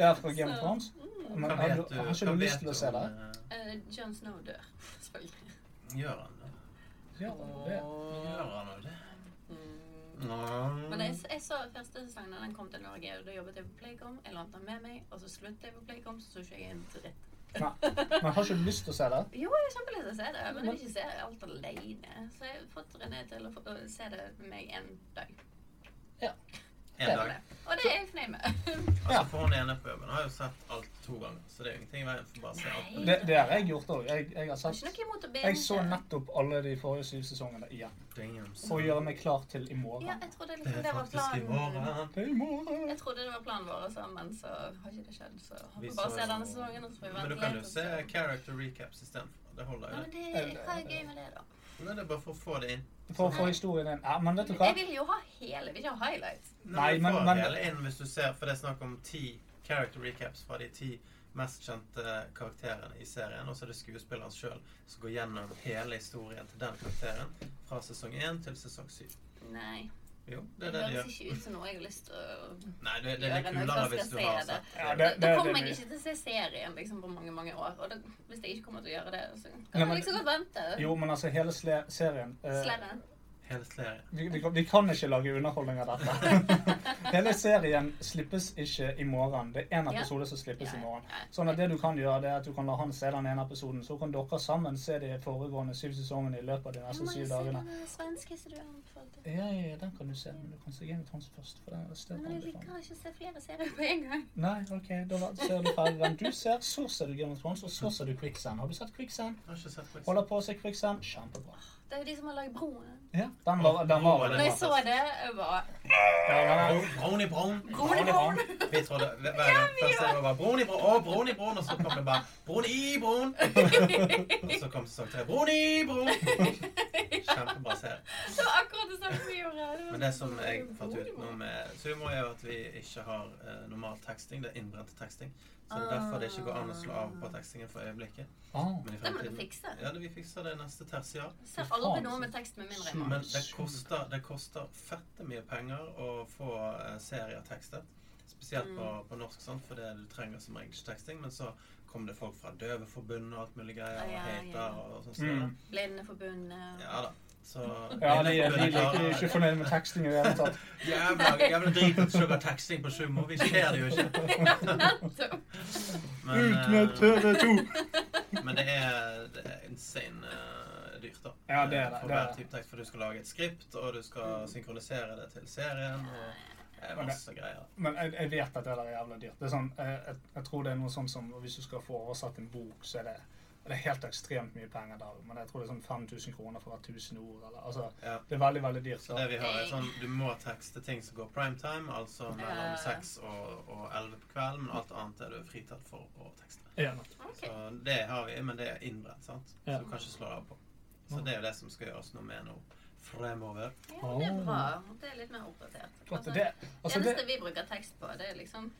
[SPEAKER 3] Ja, fra Game of Thrones.
[SPEAKER 1] Mm.
[SPEAKER 3] Men
[SPEAKER 2] Hva
[SPEAKER 3] har,
[SPEAKER 2] vet
[SPEAKER 3] du,
[SPEAKER 2] du
[SPEAKER 3] har ikke
[SPEAKER 2] hva
[SPEAKER 3] du
[SPEAKER 2] vet
[SPEAKER 3] lyst til å
[SPEAKER 2] du
[SPEAKER 3] se det?
[SPEAKER 2] om,
[SPEAKER 1] Eh, Jon Snow dør, selvfølgelig.
[SPEAKER 2] eh, Gjør han det?
[SPEAKER 3] Ja, det.
[SPEAKER 2] Gjør han jo det?
[SPEAKER 1] Mm.
[SPEAKER 2] Nå.
[SPEAKER 1] Men jeg, jeg så første sesongen da den kom til Norge, og da jobbet jeg på Playcom. Jeg lånte den med meg, og så sluttet jeg på Playcom, så så ikke jeg en dritt.
[SPEAKER 3] Nei. Men har ikke du lyst til å se det?
[SPEAKER 1] Jo, jeg har kjempelyst til å se det, men jeg vil ikke se alt alene. Så jeg har fått René til å få, å se det med meg en dag.
[SPEAKER 2] En dag.
[SPEAKER 1] Og det er jeg fornøyd med.
[SPEAKER 2] Altså, for hun ene på jobben har jo sett alt to ganger, så det er jo ingenting i veien for bare å se alt.
[SPEAKER 1] Nei.
[SPEAKER 3] Det, det har jeg gjort òg. Jeg,
[SPEAKER 1] Jeg
[SPEAKER 3] jeg har
[SPEAKER 1] har ikke
[SPEAKER 3] sett
[SPEAKER 1] noe imot å be
[SPEAKER 3] Jeg så nettopp alle de forrige syv sesongene igjen.
[SPEAKER 2] Damn, son.
[SPEAKER 3] For å gjøre meg klar til i
[SPEAKER 1] Ja,
[SPEAKER 3] morgen.
[SPEAKER 1] jeg trodde
[SPEAKER 2] Det
[SPEAKER 1] liksom
[SPEAKER 2] er
[SPEAKER 1] det var
[SPEAKER 2] faktisk i
[SPEAKER 1] planen.
[SPEAKER 2] morgen.
[SPEAKER 3] I morgen.
[SPEAKER 1] Jeg trodde det var planen vår, altså, men så har ikke det skjedd. Så håper
[SPEAKER 2] Vi
[SPEAKER 1] vi bare
[SPEAKER 2] så-
[SPEAKER 1] se denne sesongen, og så får vi
[SPEAKER 2] Men du
[SPEAKER 1] vente
[SPEAKER 2] kan jo
[SPEAKER 1] og
[SPEAKER 2] se
[SPEAKER 1] så-
[SPEAKER 2] character recaps istedenfor. Det holder
[SPEAKER 1] Ja,
[SPEAKER 2] jo,
[SPEAKER 1] men
[SPEAKER 2] det.
[SPEAKER 1] det, hva er gøy med det, da?
[SPEAKER 2] Nei, det er bare for å få det inn.
[SPEAKER 3] For å få historien din. Ja, men vet du hva?
[SPEAKER 1] Jeg vil jo ha hele, vil ikke ha highlights.
[SPEAKER 2] Nei,
[SPEAKER 3] Nei,
[SPEAKER 2] men,
[SPEAKER 3] men-
[SPEAKER 2] får
[SPEAKER 3] men-
[SPEAKER 2] hele inn hvis du ser, for det er snakk om ti character recaps fra de ti mest kjente karakterene i serien, og så er det skuespilleren sjøl som går gjennom hele historien til den karakteren fra sesong 1 til sesong 7.
[SPEAKER 1] Nei.
[SPEAKER 2] Jo, det
[SPEAKER 1] Det
[SPEAKER 2] er det de
[SPEAKER 1] høres
[SPEAKER 2] gjør.
[SPEAKER 1] ikke ut som noe jeg har lyst til å
[SPEAKER 2] Nei, det, det er litt
[SPEAKER 1] gjøre når jeg
[SPEAKER 2] kulere
[SPEAKER 1] først
[SPEAKER 2] hvis du
[SPEAKER 1] skal
[SPEAKER 2] har
[SPEAKER 1] se det.
[SPEAKER 2] sett
[SPEAKER 1] Da,
[SPEAKER 3] Ja, det-
[SPEAKER 1] da
[SPEAKER 3] det-
[SPEAKER 1] kommer
[SPEAKER 3] det-
[SPEAKER 1] jeg ikke til å se serien liksom, på mange mange år. Og da, hvis jeg ikke kommer til å gjøre det, så
[SPEAKER 3] Nei,
[SPEAKER 1] kan
[SPEAKER 3] men-
[SPEAKER 1] jeg liksom godt vente.
[SPEAKER 3] Jo, men altså, hele sle serien eh,
[SPEAKER 1] Sledde.
[SPEAKER 2] hele serien.
[SPEAKER 3] vi, vi, kan- vi kan ikke lage underholdning av dette. Hele serien slippes ikke i morgen. Det er én
[SPEAKER 1] Ja.
[SPEAKER 3] episode som slippes
[SPEAKER 1] Ja,
[SPEAKER 3] i morgen.
[SPEAKER 1] ja.
[SPEAKER 3] Sånn at det du kan gjøre, det er at du kan la han se den ene episoden, så kan dere sammen se de foregående syv sesongene i løpet av de
[SPEAKER 1] Jeg
[SPEAKER 3] neste
[SPEAKER 1] må jo
[SPEAKER 3] syv
[SPEAKER 1] se
[SPEAKER 3] dagene.
[SPEAKER 1] den svenske som du anbefalte.
[SPEAKER 3] Ja, ja, ja, den kan du se, men du kan se Game of Thrones først. for den er stedet
[SPEAKER 1] Men jeg
[SPEAKER 3] anbefalt.
[SPEAKER 1] liker ikke å se flere serier på en gang.
[SPEAKER 3] Nei, ok, da var- ser du ferdig den du ser, så ser du Game of Thrones, og så ser du Quicksand. Har du sett Quicksand?
[SPEAKER 2] Jeg har ikke sett Quiz.
[SPEAKER 3] Holder på å se Quicksand, kjempebra.
[SPEAKER 1] Det er jo de som har lagd broen.
[SPEAKER 3] Ja, den var, den var
[SPEAKER 1] Når jeg
[SPEAKER 3] veldig
[SPEAKER 1] så
[SPEAKER 3] bra.
[SPEAKER 1] det, jeg bare
[SPEAKER 3] Ja, den er-
[SPEAKER 2] Broen i broen.
[SPEAKER 1] Broen i broen!
[SPEAKER 2] Vi trodde hver gang først det var broen i broen, å, broen i broen, og så kom det bare broen i broen. Og så kom sesong tre. Broen i broen. Kjempebra serie.
[SPEAKER 1] Det var akkurat det samme vi gjorde. var
[SPEAKER 2] Men det som
[SPEAKER 1] sånn,
[SPEAKER 2] jeg fant
[SPEAKER 1] broen i
[SPEAKER 2] ut nå
[SPEAKER 1] broen.
[SPEAKER 2] med sumo, er jo at vi ikke har eh, normal teksting. Det er innbrent teksting. Så det er derfor det ikke går an å slå av på tekstingen for øyeblikket.
[SPEAKER 3] Ah,
[SPEAKER 2] Men i
[SPEAKER 1] Det må
[SPEAKER 2] fremtiden-
[SPEAKER 1] du fikse.
[SPEAKER 2] Ja, det, vi fikser det neste tertial.
[SPEAKER 1] Jeg ser aldri noe med tekst med mindre jeg må.
[SPEAKER 2] Men det koster, det koster fette mye penger å få eh, serier tekstet. Spesielt på,
[SPEAKER 1] Mm.
[SPEAKER 2] på norsk, sant? for det du trenger som regel ikke teksting. Men så kom det folk fra Døveforbundet og alt mulig greier, og
[SPEAKER 1] Ja, ja,
[SPEAKER 2] heter
[SPEAKER 1] ja.
[SPEAKER 2] og sånn.
[SPEAKER 3] Mm.
[SPEAKER 2] sånn.
[SPEAKER 1] Blindeforbundet
[SPEAKER 2] Ja da. Så
[SPEAKER 3] Ja, de, de, de, de er
[SPEAKER 2] klarer
[SPEAKER 3] ikke
[SPEAKER 2] det.
[SPEAKER 3] fornøyd med tekstingen i det hele tatt.
[SPEAKER 2] Jævla, jævla drit at sugar teksting på sumo. Vi ser det jo ikke.
[SPEAKER 1] Nettopp.
[SPEAKER 2] Men, eh,
[SPEAKER 3] TV 2!
[SPEAKER 2] men det, er, det er insane eh, dyrt, da.
[SPEAKER 3] Ja, det er det,
[SPEAKER 2] For
[SPEAKER 3] det Mm. er
[SPEAKER 2] hver
[SPEAKER 3] det.
[SPEAKER 2] type tekst, for du skal lage et skript, og du skal synkronisere det til serien, og det er masse greier.
[SPEAKER 3] Men jeg, jeg vet at det der er jævla dyrt. Det er sånn, jeg, jeg, jeg tror det er noe sånn som Hvis du skal få oversatt en bok, så er det, det er helt ekstremt mye penger der. Men jeg tror det er sånn 5000 kroner for hvert 1000 ord. Eller, altså,
[SPEAKER 2] Ja.
[SPEAKER 3] det er veldig, veldig dyrt.
[SPEAKER 2] Så det vi har er sånn, Du må tekste ting som går primetime, altså mellom
[SPEAKER 1] Ja.
[SPEAKER 2] seks og, og elleve på kvelden, men alt annet er du fritatt for å tekste.
[SPEAKER 3] Ja.
[SPEAKER 1] OK.
[SPEAKER 2] Så det har vi, men det er innbrent, sant?
[SPEAKER 3] Ja.
[SPEAKER 2] så du kan ikke slå det av på. Så det er jo det som skal gjøres noe med nå fremover.
[SPEAKER 1] Ja, det er bra. Det er litt mer oppdatert.
[SPEAKER 3] Flott,
[SPEAKER 1] Altså,
[SPEAKER 3] det, altså,
[SPEAKER 1] eneste
[SPEAKER 3] det,
[SPEAKER 1] vi bruker tekst på, det er liksom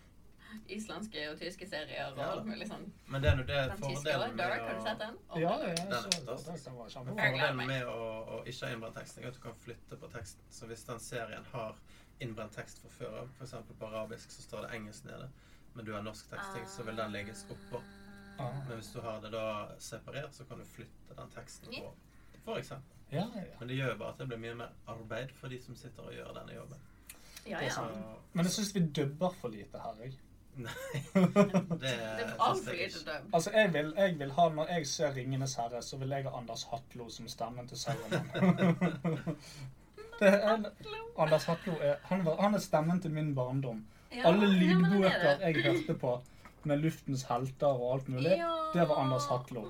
[SPEAKER 1] islandske og tyske serier og
[SPEAKER 2] Ja.
[SPEAKER 1] alt mulig sånn.
[SPEAKER 2] Men det er nå det
[SPEAKER 1] Den tyske var
[SPEAKER 2] fordelen
[SPEAKER 1] Dark, har du sett
[SPEAKER 2] med å
[SPEAKER 1] den?
[SPEAKER 3] ja, ja, jeg
[SPEAKER 2] Den er
[SPEAKER 3] så-
[SPEAKER 2] fantastisk.
[SPEAKER 3] den var
[SPEAKER 2] men
[SPEAKER 3] kjempebra.
[SPEAKER 1] gleder
[SPEAKER 2] fordelen
[SPEAKER 1] meg.
[SPEAKER 2] med å, å ikke ha innbrent tekst, er at du kan flytte på teksten. Så hvis den serien har innbrent tekst fra før av, f.eks. på arabisk, så står det engelsk nede, men du har norsk teksting, så vil den ligges oppå.
[SPEAKER 3] Ah.
[SPEAKER 2] Men hvis du har det da separert, så kan du flytte den teksten
[SPEAKER 1] Ja.
[SPEAKER 2] på, for eksempel.
[SPEAKER 3] Ja, ja.
[SPEAKER 2] Men det gjør jo bare at det blir mye mer arbeid for de som sitter og gjør denne jobben.
[SPEAKER 1] Ja,
[SPEAKER 3] Det er
[SPEAKER 1] ja.
[SPEAKER 2] sånn,
[SPEAKER 3] sant. Men jeg syns vi dubber for lite her, jeg.
[SPEAKER 2] Nei, det
[SPEAKER 1] Det er
[SPEAKER 2] synes
[SPEAKER 1] altfor
[SPEAKER 2] jeg
[SPEAKER 1] lite
[SPEAKER 2] ikke.
[SPEAKER 1] dub.
[SPEAKER 3] Altså, jeg vil, jeg vil ha, Når jeg ser 'Ringenes herre', så vil jeg ha Anders Hatlo som stemmen til Sauron. Det er- Anders Hatlo er, han, var, han er stemmen til min barndom.
[SPEAKER 1] Ja,
[SPEAKER 3] Alle
[SPEAKER 1] ja, men det er
[SPEAKER 3] lydbøker
[SPEAKER 1] det.
[SPEAKER 3] jeg hørte på med luftens helter og alt mulig, det var Anders Hatlo.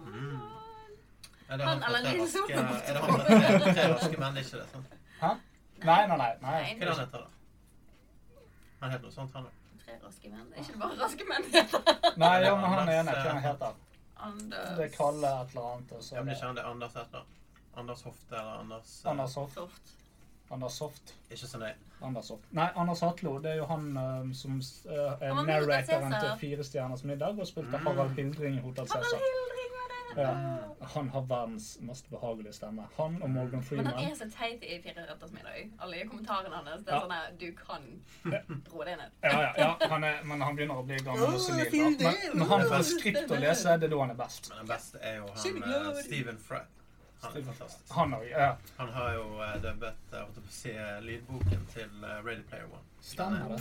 [SPEAKER 2] Er det
[SPEAKER 1] Han
[SPEAKER 2] han fra
[SPEAKER 1] eller
[SPEAKER 2] Tre
[SPEAKER 1] Nils
[SPEAKER 2] raske-
[SPEAKER 1] Olav.
[SPEAKER 2] er det han fra Tre- Tre raske menn? Ikke det, sant?
[SPEAKER 3] Hæ? Nei, nei, nei.
[SPEAKER 1] Nei,
[SPEAKER 2] Hva
[SPEAKER 3] nei.
[SPEAKER 2] er det han heter, da? Han heter noe sånt, han òg.
[SPEAKER 1] Tre raske menn. Ikke bare raske menn heter
[SPEAKER 3] Nei, ja, men han ene, hva han heter
[SPEAKER 1] Anders
[SPEAKER 3] Det er Kalle et eller annet. og så
[SPEAKER 2] Ja,
[SPEAKER 3] er
[SPEAKER 2] men ikke
[SPEAKER 3] det
[SPEAKER 2] han det er Anders heter? Anders Hofte eller Anders eh,
[SPEAKER 3] Anders Hoff.
[SPEAKER 1] Toft.
[SPEAKER 3] Anders Soft.
[SPEAKER 2] Ikke så nøye.
[SPEAKER 3] Anders Hoff. Nei, Anders Hatlo. Det er jo han eh, som eh, er
[SPEAKER 1] Han var med i Hotel
[SPEAKER 3] narratoren
[SPEAKER 1] Cæsar.
[SPEAKER 3] til Fire stjerners middag og spilte
[SPEAKER 2] Mm.
[SPEAKER 3] Harald Hildring i Hotel
[SPEAKER 1] Harald
[SPEAKER 3] Cæsar.
[SPEAKER 1] Hildring var det!
[SPEAKER 3] Ja. Han har verdens mest behagelige stemme. Han og Morgan
[SPEAKER 1] Men
[SPEAKER 3] Freeman.
[SPEAKER 1] Mm. han er så teit i Fire retters middag. Alle i kommentarene hans. Det er
[SPEAKER 3] Ja.
[SPEAKER 1] sånn her Du kan roe deg ned.
[SPEAKER 3] Ja, ja, ja han er, men han begynner å bli gammel og senil. da. Men når han får et skript å lese, det er da han er best.
[SPEAKER 2] Men den beste er jo han
[SPEAKER 1] Kjempeglad.
[SPEAKER 2] eh, Stephen Fry. Han er fantastisk.
[SPEAKER 3] Han òg. Ja.
[SPEAKER 2] Han har jo uh, dubbet eh, holdt jeg på å si, eh, lydboken til eh, Ready Player One.
[SPEAKER 3] Stemmer det.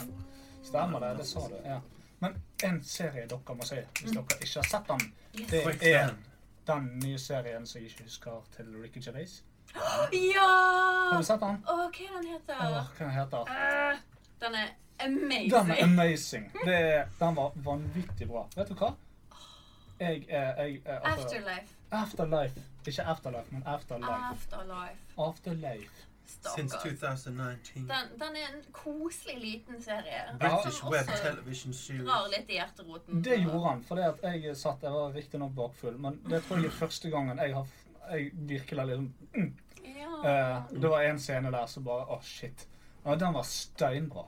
[SPEAKER 3] Stemmer det, det sa du. Ja. Men en serie dere må se
[SPEAKER 1] Mm.
[SPEAKER 3] hvis dere ikke har sett den, det
[SPEAKER 2] Quick
[SPEAKER 3] er
[SPEAKER 2] Stand.
[SPEAKER 3] den nye serien som jeg ikke husker til Ricky Gervais.
[SPEAKER 1] Ja!
[SPEAKER 3] Har du sett den?
[SPEAKER 1] Å, hva er den heter
[SPEAKER 3] Åh, hva den heter den?
[SPEAKER 1] Eh, Den er amazing.
[SPEAKER 3] Den er amazing. Det, er- den var vanvittig bra. Vet du hva? Jeg er jeg, er- altså-
[SPEAKER 1] Afterlife. Ah.
[SPEAKER 3] Afterlife. Ikke Afterlife, men Afterlife.
[SPEAKER 1] Afterlife.
[SPEAKER 3] Afterlife.
[SPEAKER 2] Since
[SPEAKER 1] Stakkars.
[SPEAKER 2] 2019.
[SPEAKER 1] Den, den er en koselig liten serie.
[SPEAKER 2] British
[SPEAKER 1] som
[SPEAKER 2] Web
[SPEAKER 1] også
[SPEAKER 2] Television
[SPEAKER 1] drar
[SPEAKER 2] Series.
[SPEAKER 1] litt i hjerteroten.
[SPEAKER 3] Det gjorde han, fordi at jeg satt Jeg var riktignok bakfull, men det tror jeg er første gangen jeg har jeg virkelig liksom mm.
[SPEAKER 1] Ja.
[SPEAKER 3] Eh, Det var en scene der som bare Å, shit. Ja, den var steinbra.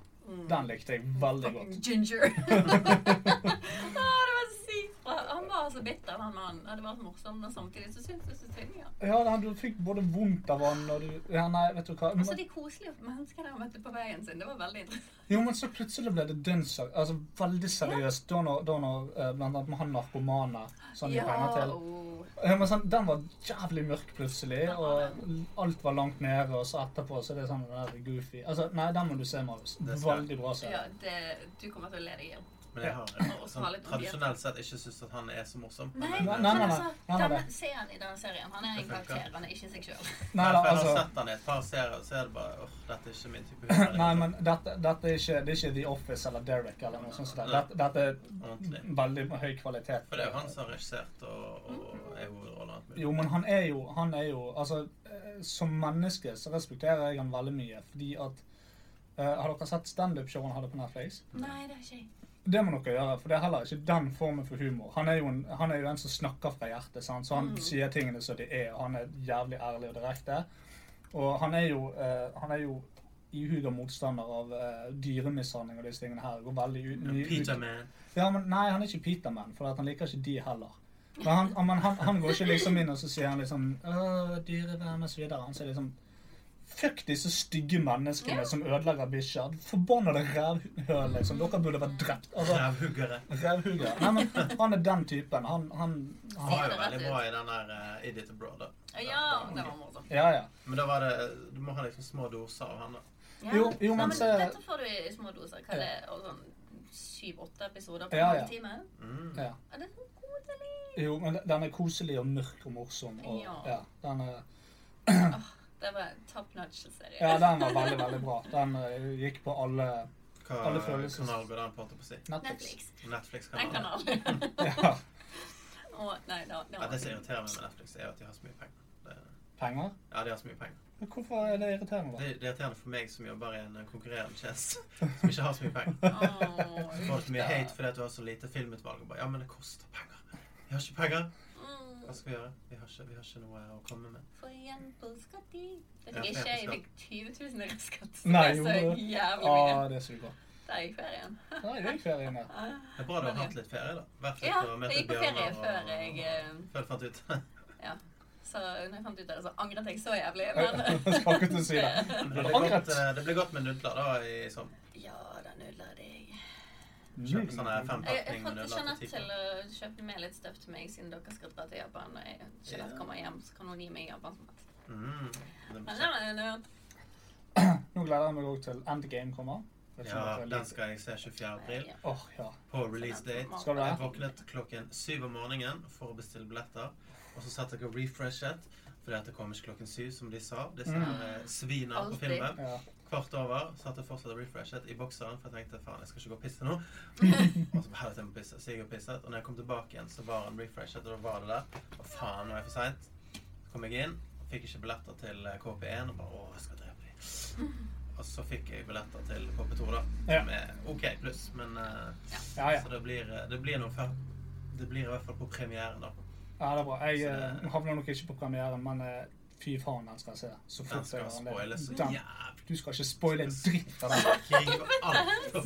[SPEAKER 3] Den likte jeg veldig godt.
[SPEAKER 1] Mm. Fucking Ginger. ah, det var så sykt bra. Han var så bitter, han mannen. Ja, Det var så morsomt, men samtidig så syntes jeg så synd i han.
[SPEAKER 3] Ja, da, Du fikk både vondt av han og du ja, Nei, vet du hva.
[SPEAKER 1] Og så Altså, de koselige menneskene han møtte på veien sin. Det var veldig interessant.
[SPEAKER 3] Jo, men så plutselig ble det dønn ser- altså, veldig seriøst. Da når, da når eh, blant annet med han narkomane som de regner Sånn til.
[SPEAKER 1] oh.
[SPEAKER 3] Ja, men sånn, den var jævlig mørk plutselig,
[SPEAKER 1] Den var
[SPEAKER 3] og alt var langt nede, og så etterpå så er det sånn den der goofy. Altså, nei, den må du se, Marius.
[SPEAKER 2] Det skal jeg.
[SPEAKER 3] Veldig bra
[SPEAKER 1] ja,
[SPEAKER 3] serie.
[SPEAKER 1] det, du kommer til å le deg i hjel.
[SPEAKER 2] Men jeg har
[SPEAKER 1] Og
[SPEAKER 2] eh,
[SPEAKER 1] så var
[SPEAKER 2] sånn,
[SPEAKER 1] litt
[SPEAKER 2] tradisjonelt sett ikke syntes at han er så morsom.
[SPEAKER 1] Nei,
[SPEAKER 2] Men,
[SPEAKER 3] Nei,
[SPEAKER 2] eh,
[SPEAKER 3] nei,
[SPEAKER 1] men
[SPEAKER 3] nei,
[SPEAKER 1] altså,
[SPEAKER 3] nei, nei, nei.
[SPEAKER 1] denne- se han i den serien. Han er en karakter, han er ikke seg sjøl.
[SPEAKER 3] Nei, da,
[SPEAKER 2] for jeg har
[SPEAKER 3] altså,
[SPEAKER 2] sett han i et par serier, og så er det bare åh, dette er ikke min type humor. liksom.
[SPEAKER 3] nei, men dette, dette er, ikke, det er ikke The Office eller Derek eller noe sånt. som det. Dette, dette
[SPEAKER 2] Ordentlig.
[SPEAKER 3] er veldig høy kvalitet.
[SPEAKER 2] For det er jo han som har regissert og,
[SPEAKER 1] Mm.
[SPEAKER 2] og er hovedrollen. og alt mulig.
[SPEAKER 3] Jo, men han er jo, han er jo altså, eh, Som menneske så respekterer jeg han veldig mye, fordi at eh, Har dere sett standup-showet han hadde på Netflix?
[SPEAKER 1] Nei, det er ikke jeg.
[SPEAKER 3] Det må dere gjøre, for det er heller ikke den formen for humor. Han er jo en, han er jo en som snakker fra hjertet, sant? så han sier tingene som de er. og Han er jævlig ærlig og direkte. Og han er jo, eh, han er jo ihuga motstander av eh, dyremishandling og disse tingene her. Går veldig ut, mye
[SPEAKER 2] Peter
[SPEAKER 3] ut.
[SPEAKER 2] Man.
[SPEAKER 3] Ja, men, nei, han er ikke Peterman, for at han liker ikke de heller. Men han, han, han, han går ikke liksom inn og så sier han liksom «Åh, dyrevern og så videre. Han sier liksom Fuck disse stygge menneskene som ødelegger bikkjer. Forbannede rævhøl, liksom. Dere burde vært drept. Altså,
[SPEAKER 2] Rævhuggere.
[SPEAKER 3] Rævhugger. Nei, men han er den typen. Han, han,
[SPEAKER 2] Han
[SPEAKER 3] han
[SPEAKER 2] var
[SPEAKER 1] det
[SPEAKER 2] jo
[SPEAKER 1] rett
[SPEAKER 2] veldig
[SPEAKER 1] ut.
[SPEAKER 2] bra i den der eh, Idiot Abroad. da.
[SPEAKER 1] Ja, det var morsomt.
[SPEAKER 3] Ja, ja.
[SPEAKER 2] Men da var det Du må ha liksom små doser av han, da.
[SPEAKER 1] Ja.
[SPEAKER 3] Jo, jo, men
[SPEAKER 1] men
[SPEAKER 3] se-
[SPEAKER 1] Dette får du i små doser. Hva er det? Og sånn syv-åtte episoder på en
[SPEAKER 3] Ja, ja.
[SPEAKER 1] halvtime?
[SPEAKER 2] Mm.
[SPEAKER 3] ja.
[SPEAKER 1] Er det så koselig?
[SPEAKER 3] Jo, men de- den er koselig og mørk og morsom. Og,
[SPEAKER 1] Ja.
[SPEAKER 3] ja, den er,
[SPEAKER 1] Det var en top notch-serie.
[SPEAKER 3] ja, den var veldig, veldig bra. Den eh, gikk på alle
[SPEAKER 2] Hva
[SPEAKER 3] Alle
[SPEAKER 2] kanal
[SPEAKER 3] sånn- følelses-
[SPEAKER 2] går den på? holdt jeg på å si?
[SPEAKER 3] Netflix.
[SPEAKER 1] Netflix. Den kan
[SPEAKER 2] Netflix-kanalen.
[SPEAKER 1] alle.
[SPEAKER 3] Ja.
[SPEAKER 1] Å, nei, da, da.
[SPEAKER 2] Ja, det som irriterer meg med Netflix, er jo at de har så mye penger. Det,
[SPEAKER 3] Penger?
[SPEAKER 2] ja, de har så mye penger.
[SPEAKER 3] Men Hvorfor er det
[SPEAKER 2] Det,
[SPEAKER 3] irriterende? da?
[SPEAKER 2] det er irriterende for meg som jobber i en eh, konkurrerende tjeneste, som ikke har så mye penger.
[SPEAKER 1] Åh,
[SPEAKER 2] Du får så mye hate fordi at du har så lite filmutvalg. Og bare, ja, men det koster penger. Vi har ikke penger.
[SPEAKER 1] mm,
[SPEAKER 2] Hva skal vi gjøre? Vi har ikke, vi har ikke noe å komme med.
[SPEAKER 1] Få igjen på skatt i. Det
[SPEAKER 2] Ja,
[SPEAKER 1] fikk ikke jeg. Jeg
[SPEAKER 2] skatt.
[SPEAKER 1] fikk 20 000 i skatt. Så
[SPEAKER 3] Nei,
[SPEAKER 1] det
[SPEAKER 3] gjorde
[SPEAKER 1] er så
[SPEAKER 3] du?
[SPEAKER 1] jævlig mye.
[SPEAKER 3] Ah, det er så bra.
[SPEAKER 1] Der gikk ferien.
[SPEAKER 3] Da er jeg ferien her.
[SPEAKER 1] Ah,
[SPEAKER 2] Det er bra du har
[SPEAKER 1] Men,
[SPEAKER 2] hatt litt ferie, da. Vært litt
[SPEAKER 1] Ja,
[SPEAKER 2] og møtt
[SPEAKER 1] jeg gikk på
[SPEAKER 2] litt
[SPEAKER 1] ferie
[SPEAKER 2] bjørner
[SPEAKER 1] før
[SPEAKER 2] og-
[SPEAKER 1] jeg eh,
[SPEAKER 2] Før du fant ut.
[SPEAKER 1] Så når jeg fant ut av det, så angret jeg så jævlig. Men
[SPEAKER 3] Jeg skal ikke til å si det.
[SPEAKER 2] Men Det
[SPEAKER 3] Har
[SPEAKER 2] ble
[SPEAKER 3] du angret?
[SPEAKER 2] godt, eh, det ble godt med nudler da i sånn
[SPEAKER 1] ja, da nudler jeg.
[SPEAKER 2] Kjøpe sånne her fem-
[SPEAKER 1] Jeg, jeg
[SPEAKER 2] Pakning med
[SPEAKER 1] fant sånn
[SPEAKER 2] nudler til
[SPEAKER 1] Jeanette
[SPEAKER 2] ti
[SPEAKER 1] til å kjøpe eh, med litt støff til meg, siden dere skal dra til Japan. Og jeg, Jeanette
[SPEAKER 2] Ja.
[SPEAKER 1] kommer hjem, så kan hun gi meg japansk mat.
[SPEAKER 2] mm, det
[SPEAKER 1] Men
[SPEAKER 2] blir
[SPEAKER 1] det
[SPEAKER 2] kjekt.
[SPEAKER 1] var jo lurt.
[SPEAKER 3] Nå gleder jeg meg òg til Endgame kommer. Vet ikke om
[SPEAKER 2] Ja,
[SPEAKER 3] dere
[SPEAKER 2] den
[SPEAKER 3] liker-
[SPEAKER 2] skal jeg se 24. april
[SPEAKER 1] Ja.
[SPEAKER 3] Åh, ja.
[SPEAKER 2] på release date.
[SPEAKER 3] Skal du
[SPEAKER 2] Jeg
[SPEAKER 3] det?
[SPEAKER 2] våknet klokken syv om morgenen for å bestille billetter. Og så satt jeg og refreshet, fordi at det kom ikke klokken syv, som de sa. Disse
[SPEAKER 3] Mm.
[SPEAKER 2] her eh, svina på
[SPEAKER 1] Alltid.
[SPEAKER 2] filmen.
[SPEAKER 3] ja.
[SPEAKER 2] Kvart over satt jeg fortsatt og refreshet i bokseren, for jeg tenkte faen, jeg skal ikke gå og pisse nå. og så bare helvete, jeg må pisse. Så jeg og pisset. Og når jeg kom tilbake igjen, så var han refreshet, og da var det der. Og faen, nå er jeg for seint. Så kom jeg inn, og fikk ikke billetter til eh, KP1, og bare å, jeg skal drepe dem. Og så fikk jeg billetter til KP2, da.
[SPEAKER 3] Ja.
[SPEAKER 2] Som er OK pluss, men eh,
[SPEAKER 3] ja, ja.
[SPEAKER 2] så det blir, eh, det blir noe før. Det blir i hvert fall på premieren, da.
[SPEAKER 3] Ja, det er bra. Jeg
[SPEAKER 2] Så-
[SPEAKER 3] eh, havner nok ikke på premieren, men eh, fy faen, den skal jeg se. Så
[SPEAKER 2] Den
[SPEAKER 3] fort jeg
[SPEAKER 2] skal
[SPEAKER 3] har
[SPEAKER 2] spoiles så
[SPEAKER 3] Den-
[SPEAKER 2] jævlig.
[SPEAKER 3] Du skal ikke spoile en dritt av den.
[SPEAKER 2] Krig og alt på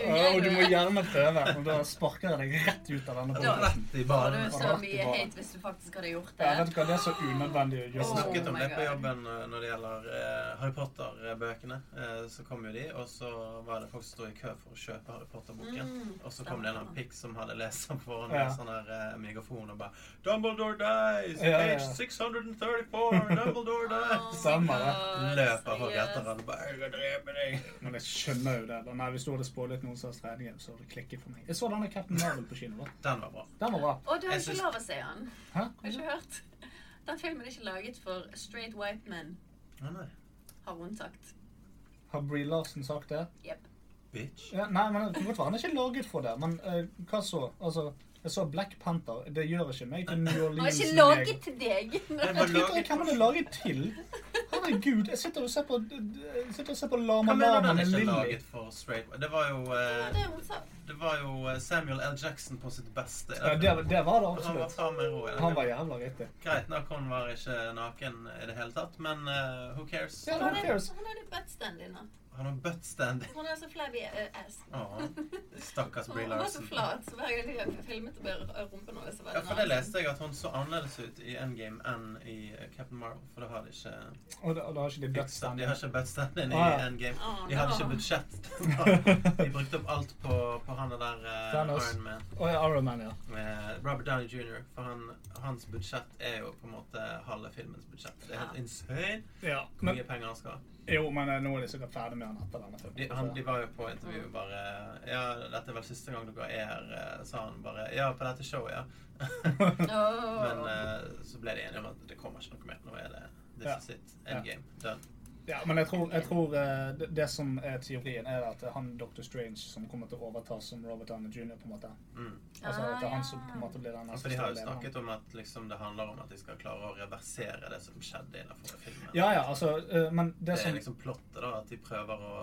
[SPEAKER 1] Ja,
[SPEAKER 3] Og du må gjerne prøve, og da sparker jeg deg rett ut av
[SPEAKER 2] Og
[SPEAKER 3] denne podcasten.
[SPEAKER 2] rett i
[SPEAKER 1] Har du
[SPEAKER 2] banen.
[SPEAKER 1] så mye hate hvis du faktisk hadde gjort
[SPEAKER 3] Ja,
[SPEAKER 1] det?
[SPEAKER 3] vet du hva, det er så unødvendig å
[SPEAKER 2] Vi
[SPEAKER 1] Åh.
[SPEAKER 3] gjøre
[SPEAKER 2] snakket
[SPEAKER 3] sånn.
[SPEAKER 2] om
[SPEAKER 1] Oh my
[SPEAKER 2] det på
[SPEAKER 1] God.
[SPEAKER 2] jobben eh, når det gjelder eh, Harry Potter-bøkene. Eh, så kom jo de, og så var det folk som sto i kø for å kjøpe Harry Potter-boken.
[SPEAKER 1] Mm,
[SPEAKER 2] Og så kom det en eller annen pikk som hadde lest den på forhånd med
[SPEAKER 3] Ja.
[SPEAKER 2] sånn her eh, megafon og bare Dumbledore dies!
[SPEAKER 3] Ja, ja, ja.
[SPEAKER 2] Page 634!
[SPEAKER 1] Oh
[SPEAKER 2] Dumbledore dies!
[SPEAKER 3] Stemmer det.
[SPEAKER 1] Åh,
[SPEAKER 2] Løper folk
[SPEAKER 1] seriøst.
[SPEAKER 2] etter han og bare Jeg skal drepe deg!
[SPEAKER 3] sånn. Men jeg skjønner jo det. da. Nei, Hvis du hadde spoilet noen som helst regning, så hadde det klikket for meg. Jeg så denne Captain Marvel på kino. da.
[SPEAKER 2] Den var bra.
[SPEAKER 3] Den var bra.
[SPEAKER 1] Å, du har
[SPEAKER 2] Jeg Mm.
[SPEAKER 1] ikke
[SPEAKER 2] syns-
[SPEAKER 1] lov å se han.
[SPEAKER 3] Hæ?
[SPEAKER 1] Har ikke hørt. Den filmen er ikke laget for straight white men,
[SPEAKER 2] Å nei.
[SPEAKER 1] har hun sagt.
[SPEAKER 3] Har Brie Larsen sagt det?
[SPEAKER 1] Jep.
[SPEAKER 2] Bitch.
[SPEAKER 3] Ja, nei, men det kan godt være han er ikke laget for det, men eh, hva så? Altså, jeg så Black Panther. Det gjør ikke meg til New
[SPEAKER 1] Han har
[SPEAKER 3] Orleans.
[SPEAKER 1] ikke laget til deg.
[SPEAKER 2] Den var
[SPEAKER 3] Jeg vet ikke
[SPEAKER 2] laget
[SPEAKER 3] hvem han er laget til. Herregud, jeg sitter og ser på, jeg sitter og ser på Lama
[SPEAKER 2] Hva mener du
[SPEAKER 3] Lama
[SPEAKER 2] den
[SPEAKER 3] med
[SPEAKER 2] er ikke
[SPEAKER 3] Lilly.
[SPEAKER 2] laget for straight Det var jo,
[SPEAKER 1] Det var
[SPEAKER 2] eh,
[SPEAKER 1] det hun sa.
[SPEAKER 2] det var jo eh, Samuel L. Jackson på sitt beste.
[SPEAKER 3] Ja, det, det var det
[SPEAKER 2] han var
[SPEAKER 3] absolutt.
[SPEAKER 2] faen meg rå. i den
[SPEAKER 3] Han var
[SPEAKER 2] filmen.
[SPEAKER 3] jævla riktig.
[SPEAKER 2] Greit nok, han var ikke naken i det hele tatt, men eh, who cares?
[SPEAKER 3] Ja,
[SPEAKER 1] Han
[SPEAKER 3] who
[SPEAKER 1] er,
[SPEAKER 3] cares?
[SPEAKER 1] han er litt buttstand din nå.
[SPEAKER 2] Han har buttstanding.
[SPEAKER 1] Hun er så flabby eh, ass.
[SPEAKER 2] Åh, stakkars
[SPEAKER 1] Hun
[SPEAKER 2] Brie
[SPEAKER 1] var så
[SPEAKER 2] Larson.
[SPEAKER 1] flat, så hver gang jeg filmet og bare rumpen hennes, så var
[SPEAKER 2] Ja,
[SPEAKER 1] den
[SPEAKER 2] for det
[SPEAKER 1] annen.
[SPEAKER 2] leste jeg at hun så annerledes ut i Endgame enn i eh, Captain Marvel. For da har de ikke
[SPEAKER 3] Og da, og da har ikke de
[SPEAKER 2] fiksa De
[SPEAKER 3] buttstanding.
[SPEAKER 2] har ikke buttstanden i
[SPEAKER 3] Ah, ja.
[SPEAKER 2] Endgame.
[SPEAKER 1] Åh,
[SPEAKER 2] De hadde
[SPEAKER 1] nå.
[SPEAKER 2] ikke budsjett. De brukte opp alt på, på han der eh,
[SPEAKER 3] Thanos.
[SPEAKER 2] Iron Man.
[SPEAKER 3] Å ja, Iron Man, ja.
[SPEAKER 2] med Robert Downey Jr. For han, hans budsjett er jo på en måte halve filmens budsjett. Det er helt
[SPEAKER 1] Ja.
[SPEAKER 2] insane
[SPEAKER 3] ja.
[SPEAKER 2] hvor
[SPEAKER 3] Men,
[SPEAKER 2] mye penger han skal ha.
[SPEAKER 3] jo, men eh, nå er de sikkert ferdig med han etter denne
[SPEAKER 2] De, han, de
[SPEAKER 3] filmen.
[SPEAKER 2] var jo på intervju og bare Ja, dette er vel siste gang dere er her, eh, sa han bare. Ja, på dette showet, ja.
[SPEAKER 1] Åh.
[SPEAKER 2] Men eh, så ble de enige om at det kommer ikke noe mer. Nå er det this
[SPEAKER 3] Ja.
[SPEAKER 2] is it. Endgame. Done.
[SPEAKER 3] Ja, men jeg tror, jeg tror eh, det, det som er teorien, er at det er han Dr. Strange som kommer til å overta som Robert Downey Jr. på en måte.
[SPEAKER 2] Mm.
[SPEAKER 3] Altså at det er han som på en
[SPEAKER 1] Ah,
[SPEAKER 3] måte blir den
[SPEAKER 2] Ja,
[SPEAKER 3] neste
[SPEAKER 2] For de har jo
[SPEAKER 3] store lederen.
[SPEAKER 2] snakket om at liksom, det handler om at de skal klare å reversere det som skjedde innenfor filmen.
[SPEAKER 3] Ja, ja, altså, eh, men
[SPEAKER 2] Det
[SPEAKER 3] det
[SPEAKER 2] er
[SPEAKER 3] som
[SPEAKER 2] liksom plottet, da. At de prøver å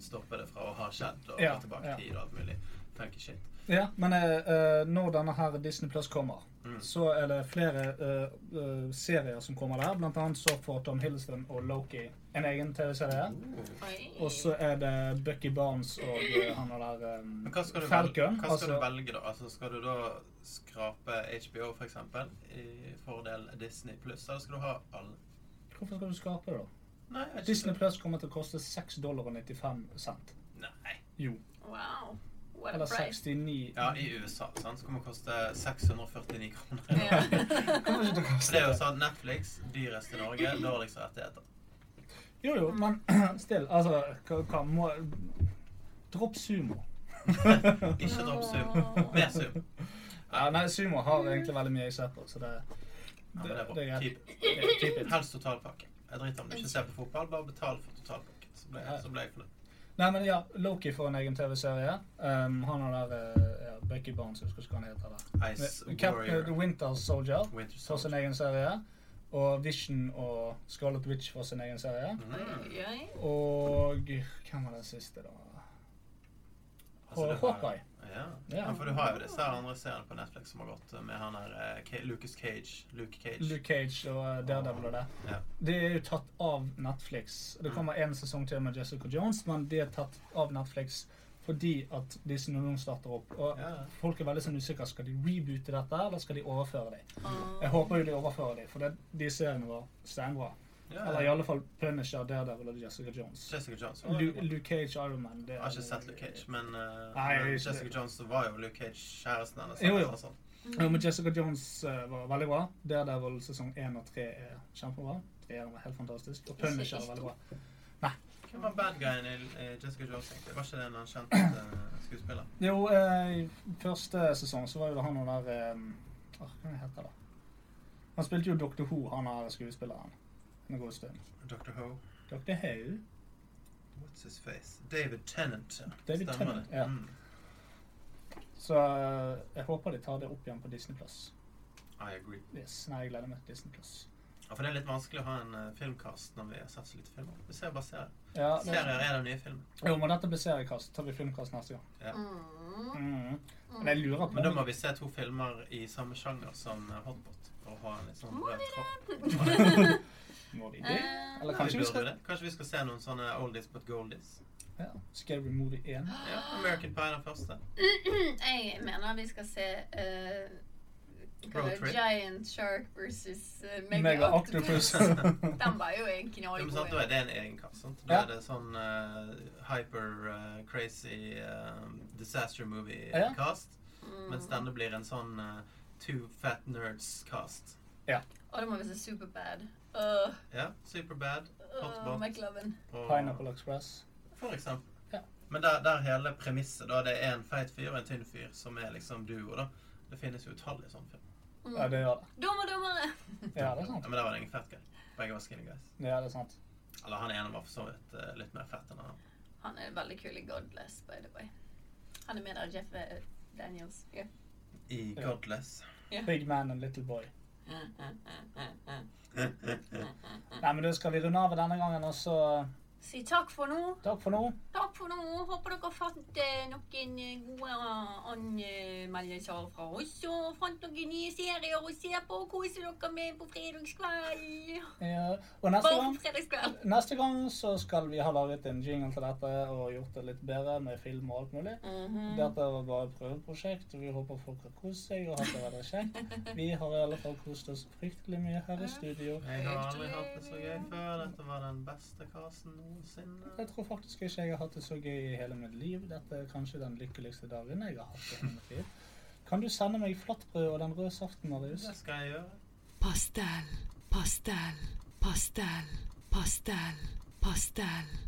[SPEAKER 2] stoppe det fra å ha skjedd og
[SPEAKER 3] Ja,
[SPEAKER 2] gå tilbake
[SPEAKER 3] ja.
[SPEAKER 2] i tid og alt mulig. Funky shit.
[SPEAKER 3] Ja, men eh, eh, når denne her Disney Plus kommer,
[SPEAKER 2] Mm.
[SPEAKER 3] så er det flere eh, eh, serier som kommer der. Blant annet så får Tom Hiddleston og Loki en egen TV-serie.
[SPEAKER 2] Oh.
[SPEAKER 1] Oi.
[SPEAKER 3] Og så er det Bucky Barnes og eh, han der eh,
[SPEAKER 2] Men hva skal du,
[SPEAKER 3] Falcon.
[SPEAKER 2] velge, hva skal
[SPEAKER 3] altså,
[SPEAKER 2] du velge, da? Altså, skal du da skrape HBO, for eksempel, i fordel Disney pluss, eller skal du ha alle?
[SPEAKER 3] hvorfor skal du skape det, da?
[SPEAKER 2] Nei, jeg vet ikke.
[SPEAKER 3] Disney Plus kommer til å koste 6 dollar og 95 cent.
[SPEAKER 2] Nei.
[SPEAKER 3] Jo.
[SPEAKER 1] Wow. What a
[SPEAKER 3] Eller
[SPEAKER 1] price.
[SPEAKER 3] 69
[SPEAKER 2] Ja, i USA, sant, så kommer det koste 649 kroner.
[SPEAKER 1] Ja.
[SPEAKER 3] Kommer ikke til
[SPEAKER 2] Så
[SPEAKER 3] å koste
[SPEAKER 2] det er jo
[SPEAKER 3] det.
[SPEAKER 2] sånn Netflix, dyrest i Norge, dårligst rettigheter.
[SPEAKER 3] Jo, jo, men still, altså hva, hva må Dropp sumo.
[SPEAKER 2] Ikke dropp Zoom. Mer Zoom.
[SPEAKER 3] Ja, nei, sumo har egentlig veldig mye jeg ser på, så det,
[SPEAKER 2] Ja,
[SPEAKER 3] det,
[SPEAKER 2] men det er bra.
[SPEAKER 3] det er greit.
[SPEAKER 2] Keep-
[SPEAKER 3] Ja, keep it.
[SPEAKER 2] Helst totalpakke. Jeg driter om du ikke ser på fotball, bare betal for totalpakke. Så ble,
[SPEAKER 3] Ja.
[SPEAKER 2] så ble jeg fornøyd.
[SPEAKER 3] Nei, men ja, Loki får en egen TV-serie. Um, han og der eh, ja, Bucky Barnes, jeg husker ikke hva han heter. der.
[SPEAKER 2] Ice
[SPEAKER 3] Cap, eh, The
[SPEAKER 2] Warrior
[SPEAKER 3] Winter Soldier
[SPEAKER 2] Winter
[SPEAKER 3] får sin
[SPEAKER 2] Soldier.
[SPEAKER 3] egen serie. Og Vision og Scarlet Witch får sin egen serie.
[SPEAKER 1] Oi,
[SPEAKER 2] Mm.
[SPEAKER 1] oi, oi.
[SPEAKER 3] Og hvem var den siste, da?
[SPEAKER 2] Altså, det
[SPEAKER 3] Hå-
[SPEAKER 2] var-
[SPEAKER 3] Hawkeye.
[SPEAKER 2] Ja.
[SPEAKER 3] Ja.
[SPEAKER 2] ja, for du har jo disse her andre seriene på Netflix som har gått eh, med han her eh, Ca- Lucas Cage. Luke Cage.
[SPEAKER 3] Luke Cage og eh, Daredevil og det.
[SPEAKER 2] Ja.
[SPEAKER 3] Det er jo tatt av Netflix. Det kommer én sesong til med Jessica Jones, men det er tatt av Netflix fordi at disse nå starter opp. Og
[SPEAKER 2] Ja.
[SPEAKER 3] folk er veldig sånn usikre. Skal de reboote dette, eller skal de overføre det?
[SPEAKER 2] Mm.
[SPEAKER 1] Ah.
[SPEAKER 3] Jeg håper jo de overfører det, for det, de seriene var steinbra.
[SPEAKER 2] Ja,
[SPEAKER 3] Eller i
[SPEAKER 2] ja.
[SPEAKER 3] alle fall Punisher, Daredevil og Jessica Jones.
[SPEAKER 2] Jessica Jones. var
[SPEAKER 3] Lu,
[SPEAKER 2] veldig bra.
[SPEAKER 3] Luke Cage, Iron Man det
[SPEAKER 2] Jeg har ikke sett Luke Cage, men, eh,
[SPEAKER 3] Nei, jeg
[SPEAKER 2] men
[SPEAKER 3] er ikke
[SPEAKER 2] Jessica
[SPEAKER 3] det.
[SPEAKER 2] Jones var jo Luke Cage kjæresten hennes.
[SPEAKER 3] Jo, jo.
[SPEAKER 2] eller noe sånt.
[SPEAKER 3] Jo,
[SPEAKER 1] Mm.
[SPEAKER 3] men Jessica Jones eh, var veldig bra. Daredevil sesong 1 og 3 er kjempebra. Treeren var helt fantastisk. Og
[SPEAKER 1] Jeg ser
[SPEAKER 3] Punisher er
[SPEAKER 1] ikke
[SPEAKER 3] veldig bra.
[SPEAKER 2] Hvem var bad guyen i eh, Jessica Jones? egentlig? Var ikke det en annen kjent eh, skuespiller?
[SPEAKER 3] Jo, eh, i første sesong så var jo det han og der eh, Hva heter han heter da? Han spilte jo Dr. Ho, han er skuespilleren. En god stund.
[SPEAKER 2] Dr. Ho?
[SPEAKER 3] Dr. Ho?
[SPEAKER 2] What's his face? David Tennant. ja.
[SPEAKER 3] David
[SPEAKER 2] Stemmer
[SPEAKER 3] Tennant,
[SPEAKER 2] det.
[SPEAKER 3] ja.
[SPEAKER 2] Mm.
[SPEAKER 3] Så eh, jeg håper de tar det opp igjen på Disney Plus.
[SPEAKER 2] I agree.
[SPEAKER 3] Yes, nei, jeg gleder meg til Disney Plus.
[SPEAKER 2] Ja, for det er litt vanskelig å ha en eh, filmcast når vi har sett så lite filmer. Vi ser bare serier.
[SPEAKER 3] Ja, det,
[SPEAKER 2] Serier er den nye filmen.
[SPEAKER 3] jo, men dette blir seriekast. Tar vi filmkast neste gang?
[SPEAKER 2] Ja.
[SPEAKER 1] Mm.
[SPEAKER 3] Mm. Men jeg lurer på
[SPEAKER 2] Men da må vi se to filmer i samme sjanger som eh, Hotpot. Og ha en litt sånn
[SPEAKER 1] Må
[SPEAKER 2] rød
[SPEAKER 1] vi
[SPEAKER 2] tråd.
[SPEAKER 3] Må vi det?
[SPEAKER 1] Eh,
[SPEAKER 3] Eller
[SPEAKER 2] Kanskje vi,
[SPEAKER 3] skal
[SPEAKER 2] burde det? Kanskje vi skal se noen sånne oldies but goldies?
[SPEAKER 3] ja. Scary Movie 1.
[SPEAKER 2] Ja, American Pie er den første.
[SPEAKER 1] Jeg mener vi skal se eh, hva
[SPEAKER 2] Road
[SPEAKER 1] det er,
[SPEAKER 2] Trip.
[SPEAKER 1] Giant Shark versus eh,
[SPEAKER 3] Mega
[SPEAKER 1] Mega
[SPEAKER 3] Octopus.
[SPEAKER 1] Octopus. Den var jo en
[SPEAKER 2] Ja, men sant, da
[SPEAKER 1] knallgod
[SPEAKER 2] er det en egen kasse. Sant? Da
[SPEAKER 3] Ja.
[SPEAKER 2] er det sånn eh, hyper eh, crazy eh, disaster
[SPEAKER 3] Ja.
[SPEAKER 2] movie-cast.
[SPEAKER 1] Mm.
[SPEAKER 2] Mens denne blir en sånn eh, two fat nerds-cast.
[SPEAKER 1] Og da må vi se Superbad. Uh,
[SPEAKER 2] Ja, Superbad
[SPEAKER 1] uh,
[SPEAKER 2] Hotbot.
[SPEAKER 1] McLovin.
[SPEAKER 2] og
[SPEAKER 3] Pineapple Express.
[SPEAKER 2] For eksempel.
[SPEAKER 3] Ja.
[SPEAKER 2] Men der, der hele premisset, da. Det er en feit fyr og en tynn fyr som er liksom duo, da. Det finnes jo utallige sånne filmer.
[SPEAKER 1] Mm.
[SPEAKER 3] Ja, det gjør det.
[SPEAKER 1] Dommer, dommere!
[SPEAKER 3] Ja, det er sant.
[SPEAKER 2] Ja, men der var det ingen fett guy. Begge var skinny guys.
[SPEAKER 3] Ja, det er sant.
[SPEAKER 2] Eller han ene var for så vidt eh, litt mer fett enn han.
[SPEAKER 1] Han er veldig kul i Godless, by the way. Han er med der Jeff eh, Daniels. Ja.
[SPEAKER 2] I
[SPEAKER 3] Ja.
[SPEAKER 2] Godless.
[SPEAKER 3] Big Man and Little Boy.
[SPEAKER 2] Mm, Takk
[SPEAKER 3] Nei, men da skal vi runde av denne gangen, og så eh,
[SPEAKER 1] Si takk for nå.
[SPEAKER 3] takk for nå.
[SPEAKER 1] Takk for nå. Håper dere fant eh, noen eh, gode anmeldelser fra oss. Og fant noen nye serier å se på og kose dere med på fredagskveld.
[SPEAKER 3] Ja. Eh, Og neste
[SPEAKER 1] Bare
[SPEAKER 3] gang
[SPEAKER 1] på fredagskveld.
[SPEAKER 3] Neste gang så skal vi ha laget en jingle til dette og gjort det litt bedre med film og alt mulig.
[SPEAKER 1] Mhm.
[SPEAKER 3] Dette var bare et prøveprosjekt, og vi håper folk har kost seg og hatt det veldig kjekt. Vi har i alle fall kost oss fryktelig mye her i studio.
[SPEAKER 2] Jeg har aldri hatt det så gøy før. Dette var den beste casen noensinne.
[SPEAKER 3] Jeg tror faktisk ikke jeg har hatt det så gøy i hele mitt liv. Dette er kanskje den lykkeligste dagen jeg har hatt i hele mitt liv. Kan du sende meg flatbrød og den røde saften, Marius?
[SPEAKER 2] Det skal jeg gjøre.
[SPEAKER 4] Pastel, pastel, pastel, pastel, pastel.